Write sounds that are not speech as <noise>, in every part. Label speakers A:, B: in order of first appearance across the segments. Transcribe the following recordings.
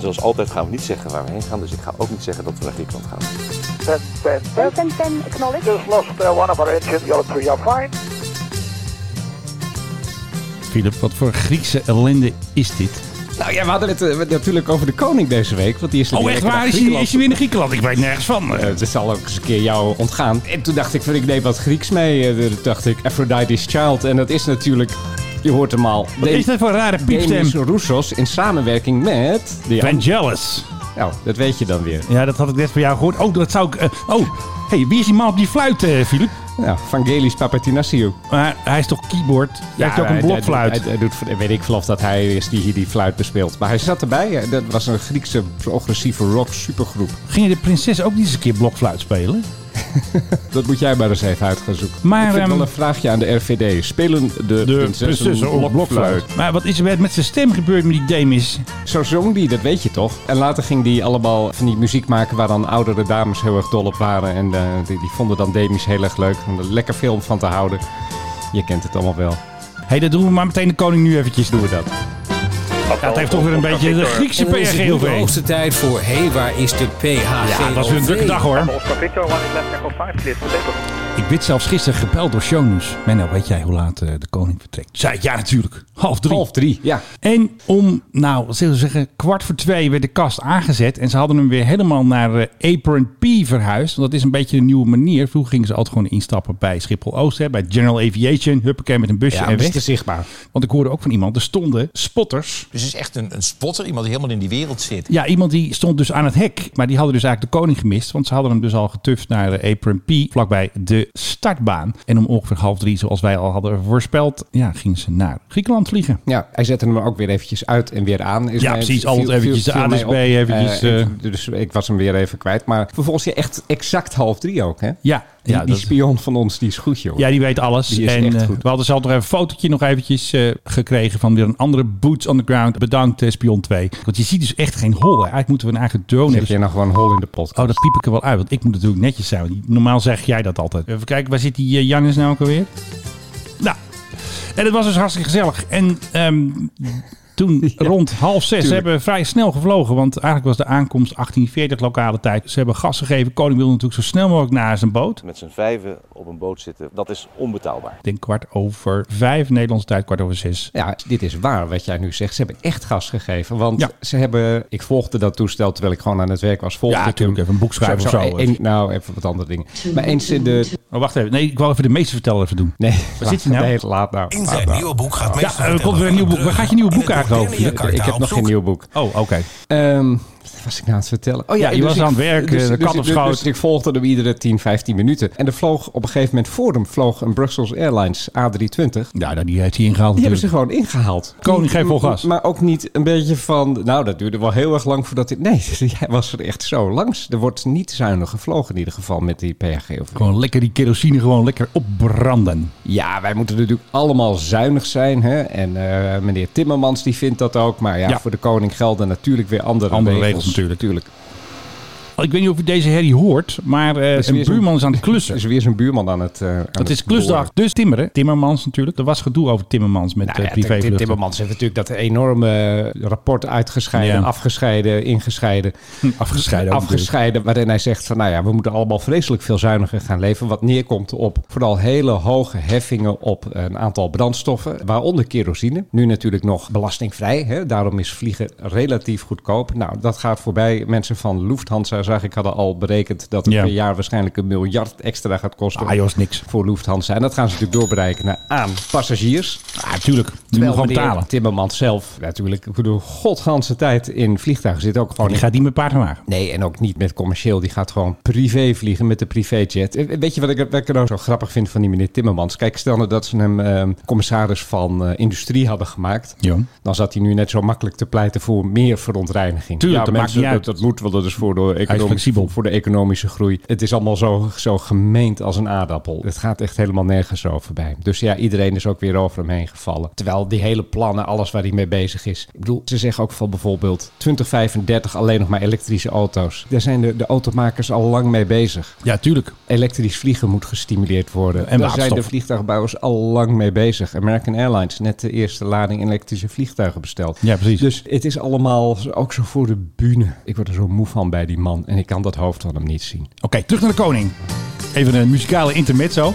A: zoals altijd gaan we niet zeggen waar we heen gaan. Dus ik ga ook niet zeggen dat we naar Griekenland gaan.
B: Ten, ten, ten.
C: Ten, ten, acknowledge.
B: Just lost uh, one of our engines. You're three are fine.
D: Philip, wat voor Griekse ellende is dit?
E: Nou ja, we hadden het eh, natuurlijk over de koning deze week. Want die
D: Oh,
E: is
D: echt
E: natuurlijk
D: waar?
E: lekker naar
D: Is hij,
E: Griekenland
D: is hij weer in Griekenland? Ik weet nergens van.
E: Eh, Het zal ook eens een keer jou ontgaan. En toen dacht ik, van, ik neem wat Grieks mee. Eh, Toen dacht ik, Aphrodite's Child. En dat is natuurlijk, je hoort hem al.
D: Wat is dat voor een rare piepstem?
E: Demis Roussos in samenwerking met... De
D: Vangelis.
E: Nou, dat weet je dan weer.
D: Ja, dat had ik net van jou gehoord. Oh, dat zou ik... eh, oh, hey, wie is die man op die fluit, eh, Philip?
E: Ja, Vangelis Papatinassiou.
D: Maar hij is toch keyboard? Hij heeft ook een
E: hij-
D: blokfluit.
E: Hij, hij, hij doet, weet ik vanaf dat hij is die hier die fluit bespeelt. Maar hij zat erbij. Eh, Dat was een Griekse progressieve rock supergroep.
D: Ging de prinses ook niet eens een keer blokfluit spelen?
E: Dat moet jij maar eens even uit gaan zoeken.
D: Maar,
E: ik vind
D: ehm,
E: wel een vraagje aan de RVD. Spelen de, prinsessen
D: ook
E: blokfluit?
D: Maar wat is er met zijn stem gebeurd met die Demis?
E: Zo zong die, dat weet je toch? En later ging die allemaal van die muziek maken waar dan oudere dames heel erg dol op waren. En eh, die, die vonden dan Demis heel erg leuk. Om er lekker film van te houden. Je kent het allemaal wel.
D: Hé, hey, dat doen we maar meteen de koning nu eventjes
E: Doen
D: doen.
E: we dat. Oh,
D: Ja, het heeft toch weer een beetje de Griekse
F: En dan is het nu de
D: PRGOV.
F: hoogste tijd voor... Hé, waar is de PHG?
D: Ja, het was weer een drukke dag hoor.
B: Oscar Victor, one is left echo 5, clear for takeoff.
D: Ik werd zelfs gisteren gebeld door Shonus. Menno, weet jij hoe laat eh, de koning vertrekt? Zei ik, ja natuurlijk. Half drie.
E: Half drie, ja.
D: En om, nou, wat zullen we zeggen, kwart voor twee werd de kast aangezet. En ze hadden hem weer helemaal naar eh, Apron P verhuisd. Want dat is een beetje een nieuwe manier. Vroeger gingen ze altijd gewoon instappen bij Schiphol Oost. Hè, bij General Aviation. Huppakee met een busje
E: Ja,
D: en
E: dat is
D: weg.
E: te zichtbaar.
D: Want ik hoorde ook van iemand, er stonden spotters.
G: Dus het is echt een, een spotter, iemand die helemaal in die wereld zit.
D: Ja, iemand die stond dus aan het hek. Maar die hadden dus eigenlijk de koning gemist. Want ze hadden hem dus al getuft naar de Apron P. Vlakbij de startbaan. En om ongeveer half drie, zoals wij al hadden voorspeld. Ja, gingen ze naar Griekenland vliegen.
E: Ja, hij zette hem ook weer eventjes uit en weer aan. Is
D: Ja,
E: mij-
D: precies. Altijd
E: viel- viel-
D: eventjes de
E: viel mij
D: ADSB
E: op.
D: eventjes,
E: Eh,
D: eh.
E: ik- dus ik was hem weer even kwijt. Maar vervolgens je echt exact half drie ook, hè?
D: Ja,
E: Die,
D: ja,
E: die
D: dat-
E: spion van ons, die is goed, joh.
D: Ja, die weet alles.
E: Die is
D: en
E: echt
D: eh,
E: goed.
D: we hadden zelf nog even een fotootje nog eventjes eh, gekregen van weer een andere Boots on the Ground. Bedankt, eh, Spion 2. Want je ziet dus echt geen hol. hè. Eigenlijk moeten we een eigen drone
E: Zet
D: hebben.
E: je nou gewoon hol in de pot.
D: Oh, dat piep ik er wel uit, want ik moet natuurlijk netjes zijn. want Normaal zeg jij dat altijd. Even kijken, waar zit die eh, Jannis nou ook alweer? Nou, en het was dus hartstikke gezellig. En ehm,
E: <laughs>
D: toen rond half zes
E: tuurlijk.
D: hebben we vrij snel gevlogen. Want eigenlijk was de aankomst 18.40 lokale tijd. Ze hebben gas gegeven. Koning wilde natuurlijk zo snel mogelijk naar zijn boot.
A: Met z'n vijven op een boot zitten, dat is onbetaalbaar.
D: Ik denk kwart over vijf, Nederlandse tijd kwart over zes.
E: Ja, dit is waar wat jij nu zegt. Ze hebben echt gas gegeven. Want
D: Ja.
E: ze hebben... Ik volgde dat toestel terwijl ik gewoon aan het werk was. Volgde
D: Ja,
E: ik hem.
D: tuurlijk, even een boek schrijven of zo.
E: en- nou, even wat andere dingen. Maar eens in de...
D: Oh, wacht even. Nee, ik wil even de meeste vertellen even doen. <laughs>
E: Nee,
D: zit hij nou?
E: Nee, laat nou.
G: In
E: laat
G: zijn
E: nou.
G: nieuwe boek gaat
D: Ja,
G: meestal
D: er komt weer een nieuw boek. Waar gaat je nieuwe boek eigenlijk over?
E: Ik heb nog geen nieuw boek.
D: Oh, oké.
E: Ehm, wat was ik nou aan het vertellen? Oh
D: Ja, je was
E: ik-
D: aan het werk, eh, de kat op schoot.
E: Dus, ik volgde hem iedere 10, 15 minuten. En er vloog op een gegeven moment voor hem vloog een Brussels Airlines A320.
D: Ja, nou, die heeft hij ingehaald
E: Die hebben ze
D: natuurlijk.
E: gewoon ingehaald.
D: Koning, geef vol
E: M-
D: gas.
E: Maar ook niet een beetje van... Nou, dat duurde wel heel erg lang voordat hij... Nee, <laughs> hij was er echt zo langs. Er wordt niet zuinig gevlogen in ieder geval met die PHG. Of...
D: Gewoon lekker die kerosine gewoon lekker opbranden.
E: Ja, wij moeten natuurlijk allemaal zuinig zijn. Hè? En eh, meneer Timmermans die vindt dat ook. Maar ja,
D: Ja.
E: voor de koning gelden natuurlijk weer andere,
D: Andere regels natuurlijk.
E: natuurlijk.
D: Ik weet niet of je deze herrie hoort, maar eh,
E: is
D: een
E: weer zo'n-
D: buurman is aan het
E: <laughs>
D: klussen.
E: Er is weer zijn buurman aan het... eh, aan
D: Het is
E: boren.
D: klusdag, dus timmeren. Timmermans natuurlijk. Er was gedoe over Timmermans met
E: Nou
D: eh
E: ja, Tim- Tim-
D: privévluchten.
E: Timmermans heeft natuurlijk dat enorme eh, rapport uitgescheiden,
D: Ja.
E: afgescheiden, ingescheiden,
D: <laughs> Afgescheiden. ook natuurlijk.
E: afgescheiden, waarin hij zegt van nou ja, we moeten allemaal vreselijk veel zuiniger gaan leven, wat neerkomt op vooral hele hoge heffingen op een aantal brandstoffen, waaronder kerosine. Nu natuurlijk nog belastingvrij, hè? daarom is vliegen relatief goedkoop. Nou, dat gaat voorbij. Mensen van Lufthansa, zag ik, hadden al berekend dat het
D: Ja.
E: per jaar waarschijnlijk een miljard extra gaat kosten.
D: Ah, joh, is niks.
E: Voor Lufthansa. En dat gaan ze natuurlijk doorbereiken naar aan passagiers.
D: Ah, tuurlijk. Die moet
E: Terwijl
D: gewoon
E: meneer
D: betalen.
E: Timmermans zelf natuurlijk voor de godganse tijd in vliegtuigen zit ook gewoon
D: Oh, Die
E: in-
D: gaat niet met paard en wagen.
E: Nee, en ook niet met commercieel. Die gaat gewoon privé vliegen met de privéjet. Eh, Weet je wat ik, wat ik er nou zo grappig vind van die meneer Timmermans? Kijk, stel nou dat ze hem ehm, commissaris van eh, industrie hadden gemaakt.
D: Ja.
E: Dan zat hij nu net zo makkelijk te pleiten voor meer verontreiniging.
D: Tuurlijk, dat
E: mensen,
D: maakt niet uit.
E: dat, dat moeten we er dus voor door economische om-
D: flexibel.
E: Voor de economische groei. Het is allemaal zo, zo gemeend als een aardappel. Het gaat echt helemaal nergens over bij. Dus ja, iedereen is ook weer over hem heen gevallen. Terwijl die hele plannen, alles waar hij mee bezig is. Ik bedoel, ze zeggen ook van bijvoorbeeld 2035 alleen nog maar elektrische auto's. Daar zijn de, de automakers al lang mee bezig.
D: Ja, tuurlijk.
E: Elektrisch vliegen moet gestimuleerd worden.
D: En
E: Daar zijn de
D: waterstof.
E: vliegtuigbouwers al lang mee bezig. American Airlines net de eerste lading elektrische vliegtuigen besteld.
D: Ja, precies.
E: Dus het is allemaal zo- ook zo voor de bühne. Ik word er zo moe van bij die man en ik kan dat hoofd van hem niet zien.
D: Oké, terug naar de koning. Even een muzikale intermezzo.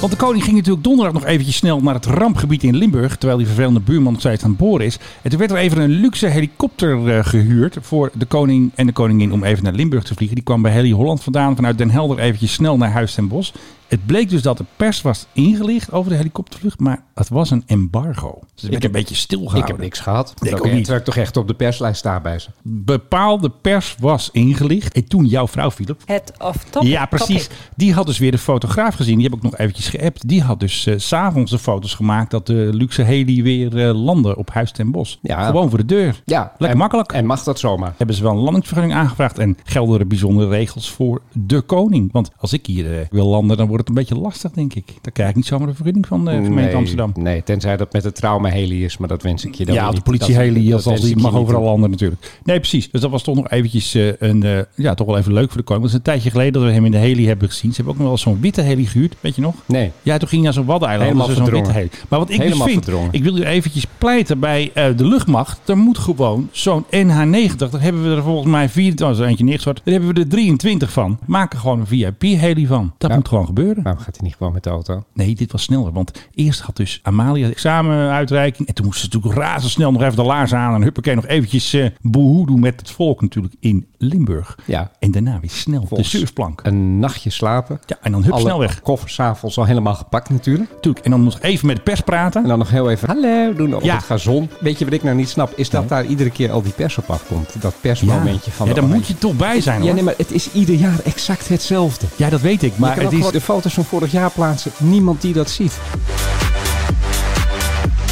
D: Want de koning ging natuurlijk donderdag nog eventjes snel naar het rampgebied in Limburg. Terwijl die vervelende buurman nog steeds aan het boren is. En toen werd er even een luxe helikopter eh, gehuurd voor de koning en de koningin om even naar Limburg te vliegen. Die kwam bij Heli Holland vandaan vanuit Den Helder eventjes snel naar Huis ten Bosch. Het bleek dus dat de pers was ingelicht over de helikoptervlucht. Maar het was een embargo. Dus het werd een beetje
E: Ik
D: stilgehouden.
E: heb niks gehad.
D: Ik ook
E: Oké,
D: niet.
E: Terwijl ik toch echt op de perslijst sta bij ze.
D: Bepaalde pers was ingelicht. En toen jouw vrouw, Philip,
C: Het off topic.
D: Ja, precies. Die had dus weer de fotograaf gezien. Die heb ik nog eventjes geappt. Die had dus eh, s s'avonds de foto's gemaakt dat de luxe heli weer eh, landde op Huis ten Bos.
E: Ja.
D: Gewoon voor de deur.
E: Ja,
D: Lekker
E: en-
D: makkelijk.
E: En mag dat zomaar?
D: hebben ze wel een landingsvergunning aangevraagd en gelden er bijzondere regels voor de koning. Want als ik hier eh, wil landen, dan wordt het een beetje lastig, denk ik. Dan krijg ik niet zomaar een vergunning van eh, de gemeente
E: nee,
D: Amsterdam.
E: Nee, tenzij dat met de trauma-heli is, maar dat wens ik je dan
D: Ja,
E: weer
D: of de
E: niet.
D: politieheli,
E: Dat-
D: als
E: dat
D: als
E: wens
D: die
E: ik je
D: mag
E: niet.
D: overal landen natuurlijk. Nee, precies. Dus dat was toch nog eventjes eh, een, eh, ja, toch wel even leuk voor de koning. Want het is een tijdje geleden dat we hem in de heli hebben gezien. Ze hebben ook nog wel zo'n witte heli gehuurd, weet je nog?
E: Nee.
D: Ja, toen ging je naar zo'n waddeneiland.
E: Helemaal
D: dus zo'n witte
E: verdrongen.
D: heli. Maar wat ik
E: Helemaal
D: dus vind,
E: verdrongen.
D: ik wil u eventjes pleiten bij eh, de luchtmacht. Er moet gewoon zo'n NH90, daar hebben we er volgens mij 24, oh, er is eentje neergestort. Daar hebben we er 23 van. Maak er gewoon een VIP-heli van. Dat
E: Ja.
D: moet gewoon gebeuren.
E: Waarom gaat hij niet gewoon met de auto?
D: Nee, dit was sneller. Want eerst had dus Amalia de examenuitreiking. En toen moest ze natuurlijk razendsnel nog even de laars aan. En huppakee, nog eventjes eh boehoe doen met het volk natuurlijk in Limburg.
E: Ja.
D: En daarna weer snel op de
E: Volgens
D: surfplank.
E: Een nachtje slapen.
D: Ja, en dan hup
E: Alle
D: snel weg.
E: koffers s'avonds al helemaal gepakt natuurlijk.
D: Natuurlijk. En dan nog even met de pers praten.
E: En dan nog heel even hallo doen op
D: Ja.
E: het gazon. Weet je wat ik nou niet snap? Is dat daar iedere keer al die pers op afkomt. Dat persmomentje van
D: ja,
E: de
D: daar moet
E: oranje.
D: je toch bij zijn hoor.
E: Ja, nee, maar het is ieder jaar exact hetzelfde.
D: Ja, dat weet ik.
E: Maar
D: Maar het is,
E: de foto's van vorig jaar plaatsen. Niemand die dat ziet.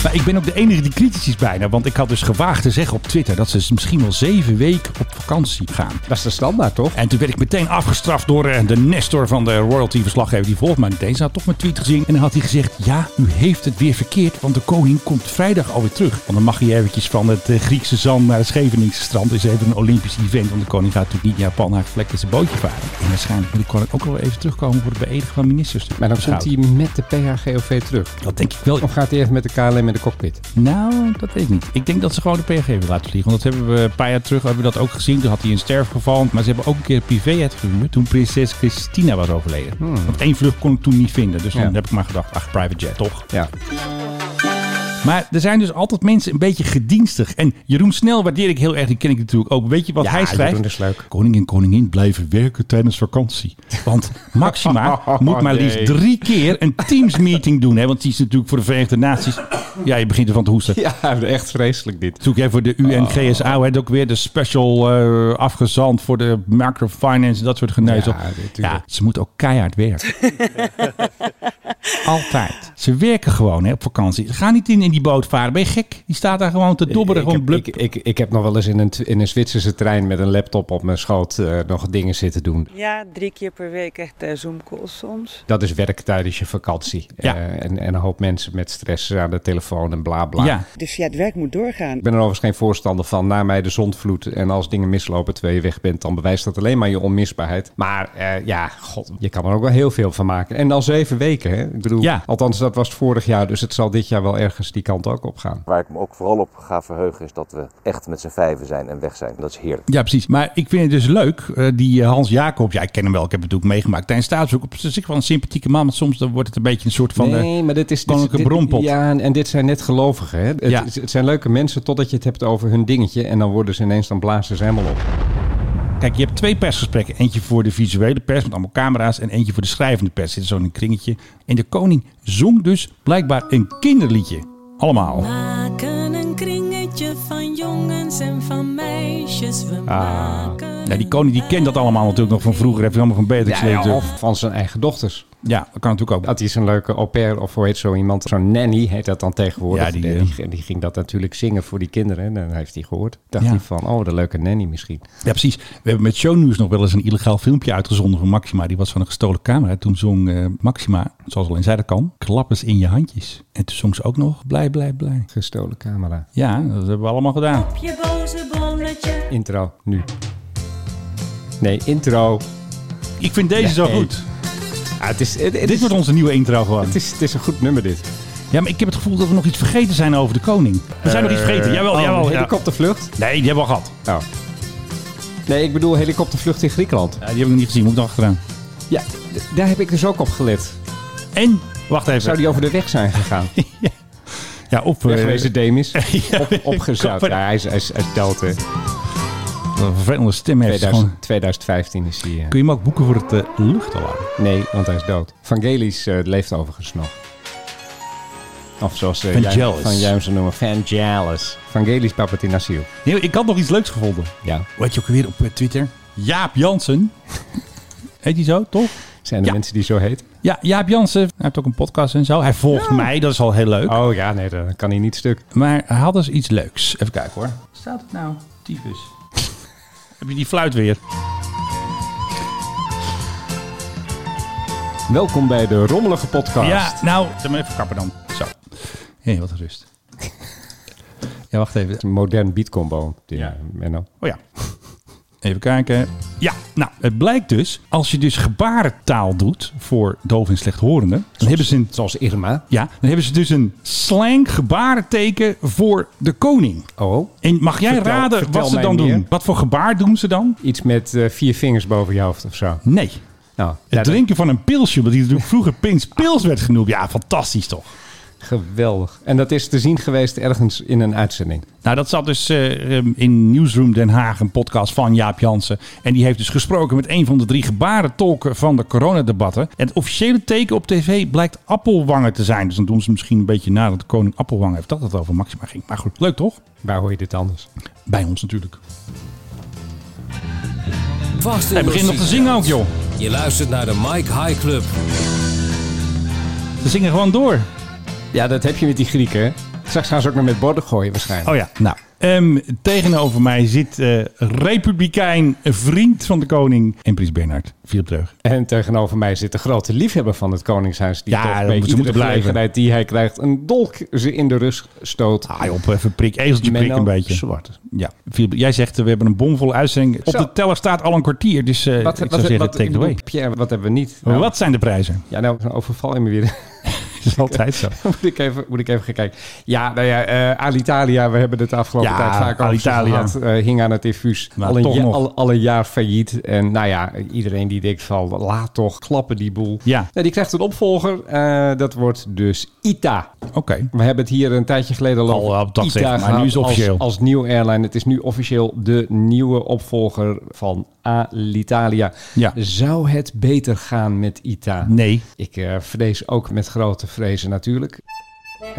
D: maar ik ben ook de enige die kritisch is bijna. Want ik had dus gewaagd te zeggen op Twitter dat ze misschien wel zeven weken op vakantie gaan.
E: Dat is de standaard, toch?
D: En toen werd ik meteen afgestraft door eh, de Nestor van de royalty-verslaggever. Die volgt mij niet eens. Hij had toch mijn tweet gezien. En dan had hij gezegd, ja, u heeft het weer verkeerd. Want de koning komt vrijdag alweer terug. Want dan mag hij eventjes van het eh, Griekse zand naar het Scheveningse strand. is even een Olympisch event. Want de koning gaat natuurlijk niet naar Japan. Hij vlek met zijn bootje varen. En waarschijnlijk moet de koning ook wel even terugkomen voor de beëdiging van ministers.
E: Maar dan komt
D: Beschouwd.
E: hij met de PHGOV terug.
D: Dat denk ik wel.
E: Of gaat hij even met de KLM in de cockpit?
D: Nou, dat weet ik niet. Ik denk dat ze gewoon de PG willen laten vliegen. Want dat hebben we een paar jaar terug hebben we dat ook gezien. Toen had hij een sterfgeval. Maar ze hebben ook een keer privé het gehuurd toen prinses Christina was overleden. Want één vlucht kon ik toen niet vinden. Dus
E: Hmm. Ja.
D: dan heb ik maar gedacht, ach, private jet, toch?
E: Ja.
D: Maar er zijn dus altijd mensen een beetje gedienstig. En Jeroen Snel waardeer ik heel erg. Die ken ik natuurlijk ook. Weet je wat
E: Ja,
D: hij schrijft?
E: Jeroen is leuk.
D: Koning en koningin blijven werken tijdens vakantie. Want
E: <laughs>
D: Maxima moet maar liefst
E: Nee.
D: drie keer een Teams-meeting doen. Hè? Want die is natuurlijk voor de Verenigde Naties... Ja, je begint ervan te hoesten.
E: <laughs> Ja, echt vreselijk dit.
D: Zoek jij voor de UNGSA, het ook weer de special eh, afgezand voor de microfinance, dat soort geneuzel.
E: Ja, natuurlijk.
D: Ja, ze moeten ook keihard
E: <laughs>
D: werken. Altijd. Ze werken gewoon hè, op vakantie. Ga niet in, in die boot varen. Ben je gek? Die staat daar gewoon te dobberen.
E: ik,
D: Gewoon
E: heb,
D: blub.
E: ik, ik, ik heb nog wel eens in een, in een Zwitserse trein met een laptop op mijn schoot eh, nog dingen zitten doen.
C: Ja, drie keer per week echt eh, Zoom-calls soms.
E: Dat is werk tijdens je vakantie.
D: Ja.
E: Eh, en, en een hoop mensen met stress aan de telefoon en bla bla.
D: Ja,
H: Dus ja, het werk moet doorgaan.
E: Ik ben er overigens geen voorstander van. Na mij de zondvloed. En als dingen mislopen terwijl je weg bent, dan bewijst dat alleen maar je onmisbaarheid. Maar eh, ja, god, je kan er ook wel heel veel van maken. En dan zeven weken, hè? Ik bedoel,
D: Ja.
E: althans dat was het vorig jaar. Dus het zal dit jaar wel ergens die kant ook op gaan.
A: Waar ik me ook vooral op ga verheugen is dat we echt met z'n vijven zijn en weg zijn. Dat is heerlijk.
D: ja, precies. Maar ik vind het dus leuk, eh, die eh, Hans Jacob. Ja, ik ken hem wel. Ik heb het natuurlijk meegemaakt. Tijdens staatsbezoek op zich wel een sympathieke man. Maar soms dan wordt het een beetje een soort van... eh,
E: maar dit is
D: koninklijke
E: dit-
D: brompot.
E: Ja, en, en dit zijn net gelovigen. Hè? Het,
D: Ja.
E: is- het zijn leuke mensen totdat je het hebt over hun dingetje. En dan worden ze ineens, dan blazen ze helemaal op.
D: Kijk, je hebt twee persgesprekken. Eentje voor de visuele pers met allemaal camera's en eentje voor de schrijvende pers. Zit zo in een kringetje. En de koning zong dus blijkbaar een kinderliedje. Allemaal.
I: maken een kringetje van jongens en van meisjes.
D: Ah.
I: We maken
D: Nou, die koning die kent dat allemaal natuurlijk nog van vroeger. Heeft helemaal van Beatrix
E: Ja,
D: geleerd
E: ja,
D: natuurlijk.
E: of van zijn eigen dochters.
D: Ja, dat kan natuurlijk ook.
E: Had hij zijn leuke au pair of hoe heet zo iemand? Zo'n nanny heet dat dan tegenwoordig.
D: Ja, die,
E: die,
D: eh,
E: die, die ging dat natuurlijk zingen voor die kinderen. En dan heeft hij gehoord. Dacht
D: Ja.
E: hij van, oh, de leuke nanny misschien.
D: Ja, precies. We hebben met Shownieuws nog wel eens een illegaal filmpje uitgezonden van Maxima. Die was van een gestolen camera. Toen zong eh, Maxima, zoals alleen zij dat kan, klappers in je handjes. En toen zong ze ook nog blij, blij, blij.
E: Gestolen camera.
D: Ja, dat hebben we allemaal gedaan.
I: Op je boze bolletje.
E: Intro, nu. Nee, intro.
D: Ik vind deze
E: Ja,
D: zo
E: hey.
D: goed.
E: Ah, het is, het, het
D: Dit
E: is,
D: wordt onze nieuwe intro gewoon.
E: het, is, het is een goed nummer dit.
D: Ja, maar ik heb het gevoel dat we nog iets vergeten zijn over de koning. We zijn nog iets vergeten. Jawel,
E: Oh,
D: jawel.
E: de
D: Ja.
E: helikoptervlucht?
D: Nee, die hebben we al gehad.
E: Oh. Nee, ik bedoel helikoptervlucht in Griekenland.
D: Ja, die heb ik nog niet gezien. Moet ik nog achteraan.
E: Ja, d- daar heb ik dus ook op gelet.
D: En, wacht even.
E: Zou die over de weg
D: <laughs>
E: zijn gegaan?
D: Ja, op... eh,
E: Wegwezen Demis.
D: <laughs> ja,
E: Op, opgezuipt.
D: kapper.
E: Ja, hij is, hij is, hij is dood, hè.
D: Wat een vervelende stem heeft. ze
E: 2000
D: Gewoon,
E: 2015 is hij... eh,
D: kun je hem ook boeken voor het eh, luchtalarm?
E: Nee, want hij is dood. Vangelis eh, leeft overigens nog. Of zoals eh,
D: Vangelis.
E: Jij- Van Juim ze noemen, Vangelis. Vangelis Papatinasiou.
D: Nee, ik had nog iets leuks gevonden.
E: Ja,
D: Weet je ook weer op eh, Twitter? Jaap Jansen. <laughs> Heet hij zo, toch?
E: zijn er
D: Ja.
E: mensen die zo heet?
D: Ja, Jaap Jansen. Hij heeft ook een podcast en zo. Hij volgt mij, dat is al heel leuk.
E: Oh ja, nee, dan kan hij niet stuk.
D: Maar hij had dus iets leuks. Even kijken hoor. Staat het nou? Tyfus. <laughs> Heb je die fluit weer?
E: Welkom bij de Rommelige Podcast.
D: Ja, nou. Zet me even kappen dan. Zo. Hé, wat een rust. ja, wacht even.
E: Een modern beatcombo. Ja,
D: Ja.
E: Menno.
D: Oh ja. Even kijken. Ja, nou, het blijkt dus, als je dus gebarentaal doet voor doof en slechthorenden, dan hebben ze een
E: Zoals Irma.
D: Ja, dan hebben ze dus een slang gebarenteken voor de koning.
E: Oh.
D: En mag jij
E: Vertel-
D: raden
E: vertel
D: wat ze
E: mij
D: dan
E: meer.
D: doen? Wat voor gebaar doen ze dan?
E: Iets met eh, vier vingers boven je hoofd of zo. Nou,
D: Nee.
E: ja,
D: Het drinken van een pilsje, want die natuurlijk vroeger Pins Pils werd genoemd. Ja, fantastisch toch?
E: dat- Geweldig. En dat is te zien geweest ergens in een uitzending.
D: Nou, dat zat dus eh, ehm, in Newsroom Den Haag, een podcast van Jaap Jansen. En die heeft dus gesproken met een van de drie gebarentolken van de coronadebatten. En het officiële teken op tv blijkt appelwangen te zijn. Dus dan doen ze misschien een beetje na dat de koning appelwangen heeft. Dat het over Maxima ging. Maar goed, leuk toch?
E: Waar hoor je dit anders?
D: Bij ons natuurlijk.
F: Vast
D: Hij begint nog te zingen ook, joh.
F: Je luistert naar de Mike High Club.
D: Ze zingen gewoon door.
E: Ja, dat heb je met die Grieken. hè? Straks gaan ze ook nog met borden gooien waarschijnlijk.
D: Oh ja, nou. ehm, tegenover mij zit eh, republikein, eh, vriend van de koning en prins Bernhard. Philip Dreug.
E: En tegenover mij zit de grote liefhebber van het Koningshuis. Die
D: Ja,
E: toch
D: dat
E: bij
D: moet- ze
E: iedere
D: moeten blijven.
E: gelegenheid die hij krijgt een dolk ze in de rust stoot.
D: Ah joh, even prik, ezeltje prik
E: Menno
D: een beetje.
E: Zwart.
D: Ja, Philip, jij zegt eh, we hebben een bomvolle uitzending. Op
E: Zo.
D: de teller staat al een kwartier, dus eh
E: Wat,
D: ik
E: wat,
D: zou zeggen
E: wat,
D: take
E: ik
D: it away.
E: bedoel, Pierre, wat hebben we niet? Nou,
D: Wat zijn de
E: <laughs>
D: prijzen?
E: Ja, nou, dan overval je me weer.
D: Dat is altijd zo.
E: <laughs> moet, ik even, moet ik even gaan kijken. Ja, nou ja, eh, Alitalia, we hebben het de afgelopen
D: Ja,
E: tijd vaak over
D: Alitalia.
E: gehad. eh, hing aan het infuus.
D: Maar
E: al, een
D: toch
E: ja-
D: nog.
E: al, al een jaar failliet. En nou ja, iedereen die denkt van laat toch, klappen die boel.
D: Ja.
E: Nou, die krijgt een opvolger. eh, dat wordt dus ITA.
D: Oké.
E: We hebben het hier een tijdje geleden al
D: Al
E: over
D: op dat
E: ITA
D: zeg, maar
E: gehad
D: nu is het
E: als-
D: officieel.
E: Als, nieuw airline. Het is nu officieel de nieuwe opvolger van Alitalia.
D: Ja.
E: Zou het beter gaan met ITA?
D: Nee.
E: Ik eh, vrees ook met grote vrezen natuurlijk.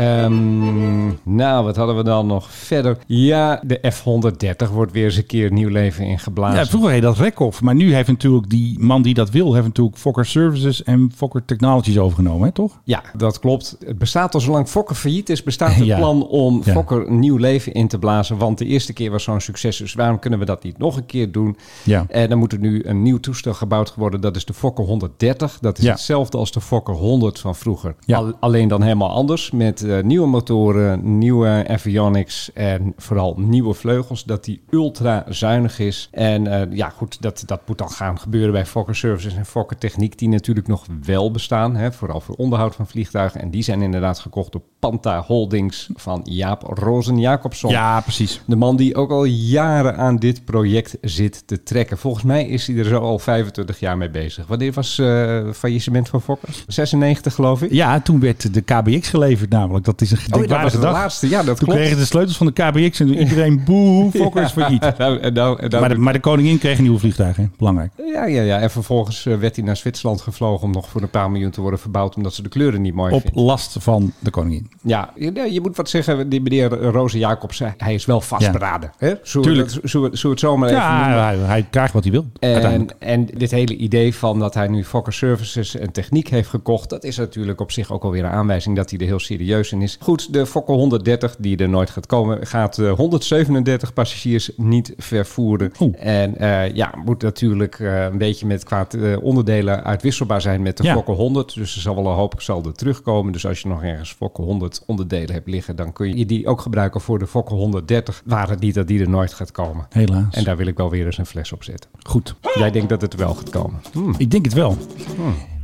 E: Ehm, nou, wat hadden we dan nog verder? Ja, de F-130 wordt weer eens een keer nieuw leven ingeblazen.
D: Ja, vroeger heet dat Rekhoff, maar nu heeft natuurlijk die man die dat wil, heeft natuurlijk Fokker Services en Fokker Technologies overgenomen, hè, toch?
E: Ja, dat klopt. Het bestaat al zolang Fokker failliet
D: <laughs>
E: is, bestaat het
D: Ja.
E: plan om
D: Ja.
E: Fokker een nieuw leven in te blazen. Want de eerste keer was zo'n succes, dus waarom kunnen we dat niet nog een keer doen?
D: Ja.
E: En dan moet er nu een nieuw toestel gebouwd worden. Dat is de Fokker 130. Dat is
D: Ja.
E: hetzelfde als de Fokker 100 van vroeger.
D: Ja.
E: Al- alleen dan helemaal anders. Met eh, nieuwe motoren, nieuwe avionics en vooral nieuwe vleugels. Dat die ultra zuinig is. En eh, ja, goed, dat, dat moet dan gaan gebeuren bij Fokker Services en Fokker Techniek. Die natuurlijk nog wel bestaan. Hè, vooral voor onderhoud van vliegtuigen. En die zijn inderdaad gekocht door Panta Holdings van Jaap Rozen-Jacobson.
D: Ja, precies.
E: De man die ook al jaren aan dit project zit te trekken. Volgens mij is hij er zo al 25 jaar mee bezig. Wanneer was eh faillissement van Fokker? 96 geloof ik.
D: Ja, toen werd de KBX geleverd namelijk. Dat is een
E: Oh, dat
D: gedenkwaardige
E: was de
D: dag.
E: laatste. Ja, dat
D: Toen
E: klopt.
D: kregen ze de sleutels van de KBX en toen iedereen
E: <laughs>
D: boe, fokker is failliet.
E: Nou, en nou, en nou-
D: Maar de, maar de koningin kreeg een nieuwe vliegtuig, hè? belangrijk.
E: ja, ja, ja. En vervolgens eh, werd hij naar Zwitserland gevlogen om nog voor een paar miljoen te worden verbouwd omdat ze de kleuren niet mooi
D: Op
E: vinden.
D: last van de koningin.
E: Ja, je, nee, je moet wat zeggen. Die meneer Roze Jacobsen, hij is wel vastberaden. Hè? Zullen, we
D: Tuurlijk.
E: dat- zullen, we- zullen we het zomaar even
D: Ja,
E: noemen?
D: hij, hij krijgt wat hij wil. uiteindelijk.
E: En, en dit hele idee van dat hij nu Fokker Services en techniek heeft gekocht, dat is natuurlijk op zich ook alweer een aanwijzing dat hij er heel serieus in is. Goed, de Fokker 130, die er nooit gaat komen, gaat eh, 137 passagiers niet vervoeren.
D: Oeh.
E: En eh, ja, moet natuurlijk eh, een beetje met qua eh, onderdelen uitwisselbaar zijn met de
D: Ja.
E: Fokker 100. Dus er zal wel een hoop zal er terugkomen. Dus als je nog ergens Fokker 100 onderdelen hebt liggen, dan kun je die ook gebruiken voor de Fokker 130. Waar het niet dat die er nooit gaat komen.
D: Helaas.
E: En daar wil ik wel weer eens een fles op zetten.
D: Goed.
E: Jij denkt dat het wel gaat komen. Hmm.
D: Ik denk het wel.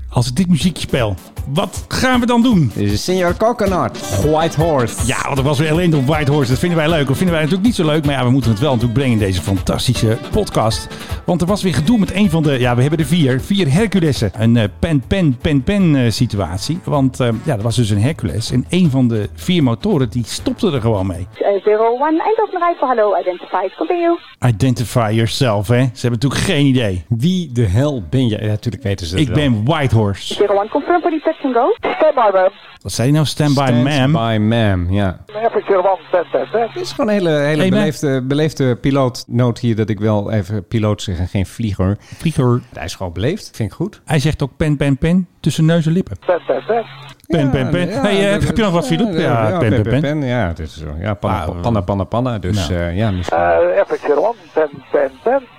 D: Als ik dit muziekje speel, wat gaan we dan doen?
E: Dit is Senior Coconut, White Horse.
D: Ja, want ik was weer alleen op White Horse. Dat vinden wij leuk. Dat vinden wij natuurlijk niet zo leuk. Maar ja, we moeten het wel natuurlijk brengen in deze fantastische podcast. Want er was weer gedoe met een van de... Ja, we hebben er vier. Vier Herculessen. Een eh, pen, pen, pen, pen eh, situatie. Want eh, ja, er was dus een Hercules. En een van de vier motoren, die stopte er gewoon mee.
H: Uh, zero one, eind open rij voor hallo, identified, continue.
D: Identify yourself, hè. Ze hebben natuurlijk geen idee.
E: Wie de hel ben jij? Ja, natuurlijk weten ze dat
D: Ik
E: wel.
D: ben White Horse.
H: Zero one, confirm for detection go.
B: Stand by, ma'am.
D: Wat zei hij nou? Stand by,
E: Stand
D: ma'am.
E: by ma'am, ja.
B: Maverick Zero One, Ben Ben Ben.
E: Dit is gewoon een hele, hele
D: Hey, ma'am.
E: beleefde, beleefde piloot. Noot hier dat ik wel even piloot zeg en geen vlieger.
D: Vlieger.
E: Hij is gewoon beleefd, vind ik goed.
D: Hij zegt ook pen, pen, pen. Tussen neus en lippen.
B: Ben Ben Ben.
D: Pen, pen, pen.
E: Ja,
D: hey, eh,
E: dat-
D: heb je nog wat, Philip? Ja, pen, pen, pen.
E: Ja, het is, zo. ja panna,
D: Ah,
E: panna, panna, panna. Dus
D: nou.
E: eh, ja, misschien.
B: Uh, Maverick Zero One, Ben Ben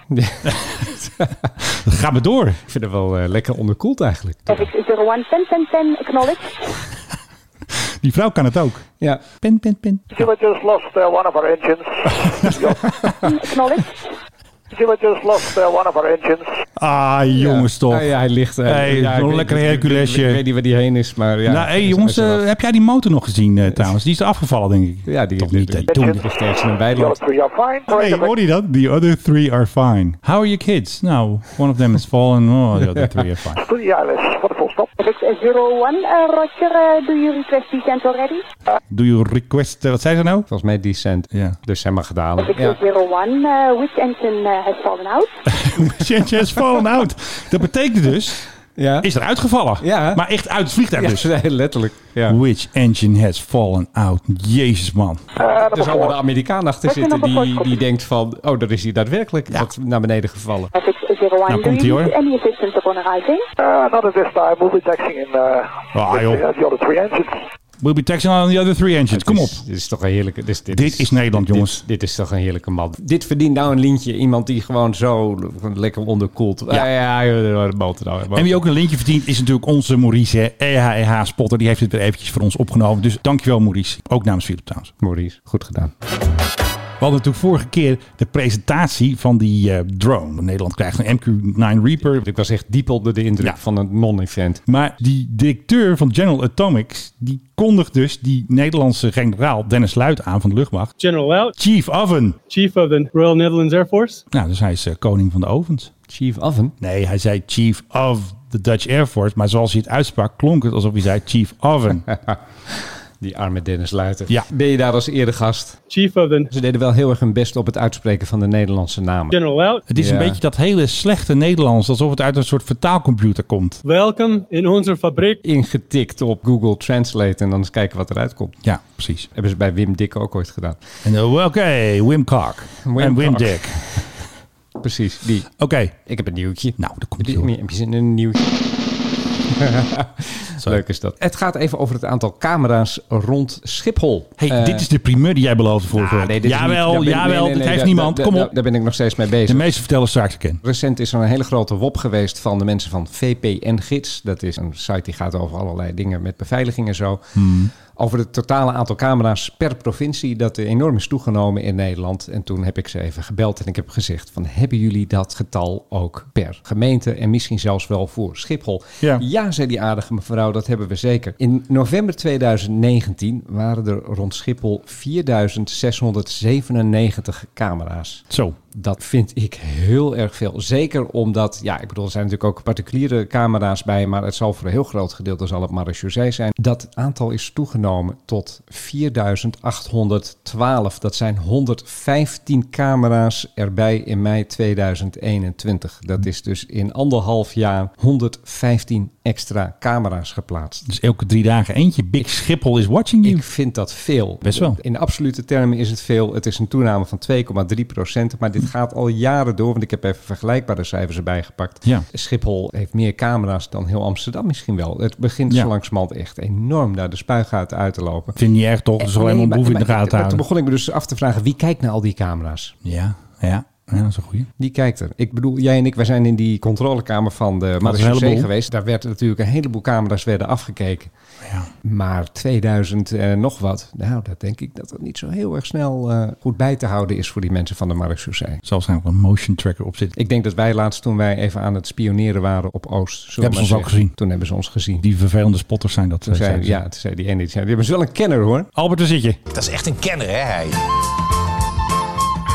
B: Ben.
D: Ga maar door.
E: ik vind het wel eh, lekker onderkoeld eigenlijk.
H: FX zero one, ten ten ten,
D: <laughs>
H: acknowledge.
D: Die vrouw kan het ook.
E: Ja,
D: Pen, pen, pen.
B: Zero just lost uh, one of our engines.
H: Acknowledge.
B: Zero just lost uh, one of our engines.
D: Ah, jongens
E: Ja.
D: toch.
E: Ah, ja, hij ligt. eh,
D: Hey,
E: ja,
D: zo'n
E: ik weet-
D: lekker
E: ik- ik-
D: Herculesje.
E: Ik, weet niet waar die heen is, maar ja.
D: nou, hé
E: is-
D: jongens,
E: is er
D: eh,
E: wel-
D: heb jij die motor nog gezien eh, trouwens? Die is er afgevallen, denk ik.
E: ja, die
D: Toch niet, hè?
E: Die,
D: Doe
E: die ligt ergens in een
B: Zero
E: weiland.
B: three are fine.
D: Hey, Ah, hoor je dat? The other three are fine. How are your kids? Nou, one of them is fallen. Oh, the other three are fine.
B: Three Islands for the full stop.
H: FX zero one, uh, roger, uh, do you request descent already?
D: Do you request... eh, wat zei ze nou? <laughs>
E: Volgens mij decent.
D: Ja.
E: Dus zijn maar gedaan.
H: FX
E: Ja.
H: zero one, uh, which engine uh, has fallen out?
D: Shenzhen is fallen out. Dat betekent dus,
E: Ja. <laughs>
D: is er uitgevallen.
E: Ja.
D: Maar echt uit het vliegtuig
E: Ja,
D: dus.
E: nee, letterlijk. Ja.
D: Which engine has fallen out? Jezus, man.
E: Er zal wel een Amerikaan achter
H: Wat is
E: zitten
H: er nog
E: die,
H: voor-
E: die denkt van... Oh, daar is hij daadwerkelijk wat naar beneden gevallen.
H: FX eh, zero one,
D: Nou,
H: do
D: komt ie,
H: you
D: hoor.
H: need any assistance upon arriving?
B: Uh, not at this time. We'll be taxing in uh,
D: Ah,
B: with
D: joh.
B: the, uh, the other three engines.
D: We'll be taxing on the other three engines. Dus Kom
E: Dit
D: op.
E: is- Dit is toch een heerlijke... Dit,
D: Dit is Nederland, jongens.
E: Dit, dit is toch een heerlijke man. Dit verdient nou een lintje. Iemand die gewoon zo lekker onderkoelt. Ja, ja, ja, de motor nou.
D: En wie ook een lintje verdient is natuurlijk onze Maurice, hè. E EHEH Spotter. Die heeft het weer eventjes voor ons opgenomen. Dus dankjewel Maurice. Ook namens Philip Towns.
E: Maurice, goed gedaan.
D: We hadden natuurlijk vorige keer de presentatie van die eh, drone. Nederland krijgt een MQ-9 Reaper.
E: Ik was echt diep onder de indruk
D: Ja.
E: van een non-event.
D: Maar die directeur van General Atomics, die kondigt dus die Nederlandse generaal Dennis Luit aan van de luchtmacht.
J: General Out,
D: Chief Oven.
J: Chief of the Royal Netherlands Air Force.
D: Nou, dus hij is eh, koning van de ovens.
E: Chief Oven.
D: Nee, hij zei Chief of the Dutch Air Force. Maar zoals hij het uitsprak, klonk het alsof hij zei Chief Oven.
E: Die arme Dennis Luiten.
D: Ja.
E: Ben je daar als eregast?
J: Chief of the
E: Ze deden wel heel erg hun best op het uitspreken van de Nederlandse namen.
J: General Out,
D: Het is
E: Ja.
D: een beetje dat hele slechte Nederlands, alsof het uit een soort vertaalcomputer komt.
J: welkom in onze fabriek.
E: Ingetikt op Google Translate en dan eens kijken wat eruit komt.
D: Ja, precies.
E: Hebben ze bij Wim Dikke ook ooit gedaan.
D: En eh, oké, Wim Kok
E: Wim
D: en Wim
E: Kok.
D: Dick.
E: Precies, die.
D: Oké,
E: Ik heb een nieuwtje.
D: nou, daar komt
E: Heb
D: hij.
E: je, heb je zin in een
D: <laughs>
E: nieuwtje?
D: Sorry.
E: Leuk is dat. Het gaat even over het aantal camera's rond Schiphol.
D: Hey,
E: Eh,
D: dit is de primeur die jij beloofde vorige
E: ah,
D: week.
E: nee, dit is niet-
D: jawel,
E: daar ben ik- nee,
D: jawel,
E: nee, nee,
D: dit heeft
E: daar-
D: niemand.
E: daar-
D: Kom
E: daar-
D: op.
E: Daar ben ik nog steeds mee
D: De
E: bezig.
D: meeste vertellen straks ik ken.
E: Recent is er een hele grote wop geweest van de mensen van VPN Gids. Dat is een site die gaat over allerlei dingen met beveiliging en zo. Over het totale aantal camera's per provincie dat enorm is toegenomen in Nederland. En toen heb ik ze even gebeld en ik heb gezegd van hebben jullie dat getal ook per gemeente en misschien zelfs wel voor Schiphol?
D: Ja.
E: Ja, zei die aardige mevrouw, dat hebben we zeker. In november 2019 waren er rond Schiphol 4697 camera's.
D: Zo,
E: Dat vind ik heel erg veel. Zeker omdat, ja, ik bedoel, er zijn natuurlijk ook particuliere camera's bij, maar het zal voor een heel groot gedeelte zal het marechaussee zijn. Dat aantal is toegenomen tot 4812. Dat zijn 115 camera's erbij in mei 2021. Dat is dus in anderhalf jaar 115 extra camera's geplaatst.
D: Dus elke drie dagen eentje. Big Schiphol is watching you.
E: Ik vind dat veel.
D: Hmm. Best wel.
E: In absolute termen is het veel. Het is een toename van 2,3 Maar
D: Hmm.
E: dit gaat al jaren door. Want ik heb even vergelijkbare cijfers erbij gepakt.
D: Ja.
E: Schiphol heeft meer camera's dan heel Amsterdam misschien wel. Het begint
D: Ja.
E: zo langzamerhand echt enorm naar de spuigaten uit te lopen. Eh,
D: Vind je niet erg toch? Dat is alleen
E: Nee,
D: maar
E: maar-
D: boef in de
E: maar- maar
D: gaten
E: Toen
D: houden.
E: begon ik me dus af te vragen, wie kijkt naar al die camera's?
D: Ja, ja. Ja, dat is een goeie.
E: Die kijkt er. Ik bedoel, jij en ik, wij zijn in die controlekamer van de Marseille
D: heleboel.
E: geweest. Daar werden natuurlijk een heleboel camera's werden afgekeken.
D: Ja.
E: Maar 2000 en nog wat, nou, dat denk ik dat dat niet zo heel erg snel eh, goed bij te houden is voor die mensen van de marechaussee.
D: Er zal waarschijnlijk wel een motion tracker op zitten.
E: Ik denk dat wij laatst, toen wij even aan het spioneren waren op Oost, zullen we
D: Hebben ze ons
E: maar
D: ook
E: zeggen,
D: gezien.
E: Toen hebben ze ons gezien.
D: Die vervelende spotters zijn dat.
E: Toen
D: eh,
E: zei,
D: zeiden ze.
E: ja, toen zei die ene, die zei, die hebben ze wel een kenner hoor.
D: Albert, daar zit je.
G: Dat is echt een kenner, hè, hij.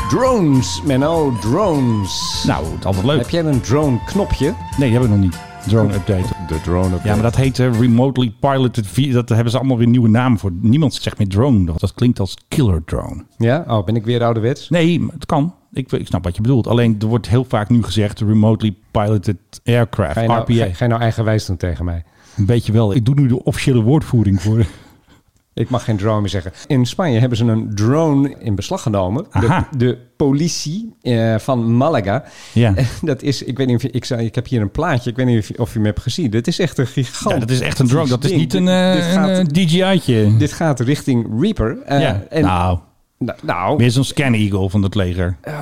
E: Drones, Menno, drones.
D: Nou, het altijd leuk.
E: Heb jij een drone knopje?
D: Nee, die heb ik nog niet.
E: Oh.
D: Drone update.
E: De drone
D: Ja, maar dat heet eh, remotely piloted vehicle. Dat hebben ze allemaal weer een nieuwe naam voor. Niemand zegt meer drone. Dat, dat klinkt als killer drone.
E: Ja? Oh, ben ik weer ouderwets?
D: Nee, maar het kan. Ik, ik snap wat je bedoelt. Alleen er wordt heel vaak nu gezegd remotely piloted aircraft.
E: Ga je nou,
D: RPA.
E: ga, ga je nou eigenwijs doen tegen mij?
D: Een beetje wel. Ik doe nu de officiële woordvoering voor.
E: Ik mag geen drone meer zeggen. In Spanje hebben ze een drone in beslag genomen. De,
D: Aha.
E: de politie eh, van Malaga.
D: <laughs> Ja.
E: <laughs> Dat is, ik weet niet of je, ik, zei, ik heb hier een plaatje. Ik weet niet of je, of je hem hebt gezien. Dit is echt een gigantisch
D: ja, dat is echt een drone. Dat is
E: ding.
D: niet een,
E: Dit-
D: eh,
E: dit, gaat,
D: een DJI'tje.
E: dit gaat richting Reaper. Eh,
D: ja.
E: en,
D: nou,
E: nou, nou,
D: weer zo'n scan eagle van het leger. Ah.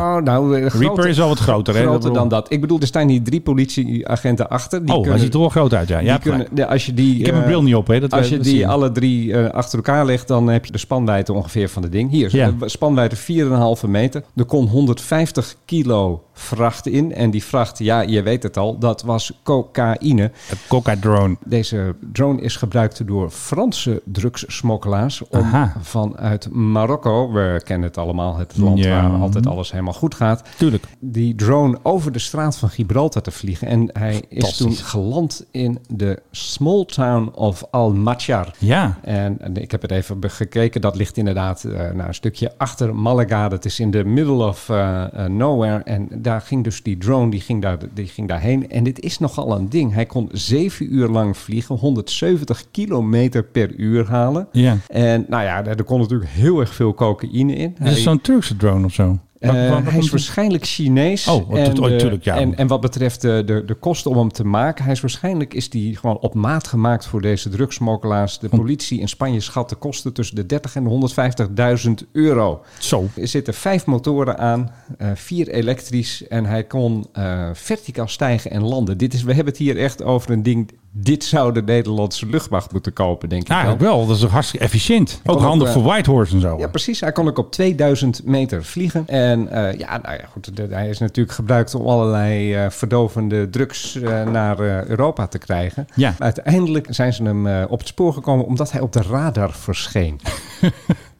E: oh, nou, eh, groter-
D: is wel wat groter, hè?
E: Groter
D: Dat-
E: dan dat. Ik beziel, er staan hier drie politieagenten achter. Die
D: oh, hij
E: kunnen,
D: ziet er wel groot uit, ja.
E: die
D: ja hebt
E: kunnen,
D: gelijk.
E: ja, als je die,
D: ik heb
E: eh,
D: mijn bril niet op, hè? Dat
E: Als
D: we-
E: je
D: dat
E: die
D: zien.
E: alle drie eh, achter elkaar legt, dan heb je de spanwijdte ongeveer van het ding. Hier,
D: Ja.
E: eh, spanwijdte 4,5 meter. Er kon 150 kilo vracht in. En die vracht, ja, je weet het al, dat was cocaïne.
D: Het Coca drone.
E: Deze drone is gebruikt door Franse drugssmokkelaars om
D: Aha.
E: vanuit Marokko, we kennen het allemaal, het land
D: Ja.
E: waar altijd alles helemaal goed gaat,
D: Tuurlijk.
E: die drone over de straat van Gibraltar te vliegen. En hij is toen
D: Fantastisch.
E: geland in de small town of Al-Machar.
D: Ja.
E: En, en ik heb het even be- gekeken. Dat ligt inderdaad eh, nou, een stukje achter Malaga. Dat is in de middle of eh, eh, nowhere. En daar ging dus die drone, die ging, daar, die ging daarheen. En dit is nogal een ding. Hij kon zeven uur lang vliegen. 170 kilometer per uur halen.
D: Ja.
E: En nou ja, er er kon natuurlijk heel erg veel cocaïne in.
D: Dit is
E: Hij-
D: zo'n Turkse drone of zo.
E: eh,
D: Waar- waar- waar
E: hij is
D: komt die-
E: waarschijnlijk Chinees.
D: Oh, wat-
E: en,
D: oh,
E: de-
D: tuurlijk, ja.
E: en, en wat betreft de, de, de kosten om hem te maken, hij is waarschijnlijk is die gewoon op maat gemaakt voor deze drugsmokkelaars. De politie in Spanje schat de kosten tussen de 30 en 150.000 euro.
D: Zo. Nou,
E: Er zitten vijf motoren aan, eh, vier elektrisch en hij kon eh, verticaal stijgen en landen. Dit is, we hebben het hier echt over een ding. Dit zou de Nederlandse luchtmacht moeten kopen, denk ik. wel.
D: Eigenlijk wel. Dat is toch hartstikke efficiënt.
E: kan
D: Ook
E: ook,
D: handig
E: eh,
D: voor Whitehorse en zo.
E: Ja, precies. Hij kon ook op 2000 meter vliegen. En eh, ja, nou ja, goed. de- hij is natuurlijk gebruikt om allerlei eh, verdovende drugs eh, naar eh, Europa te krijgen.
D: Ja.
E: Maar uiteindelijk zijn ze hem eh, op het spoor gekomen omdat hij op de radar verscheen.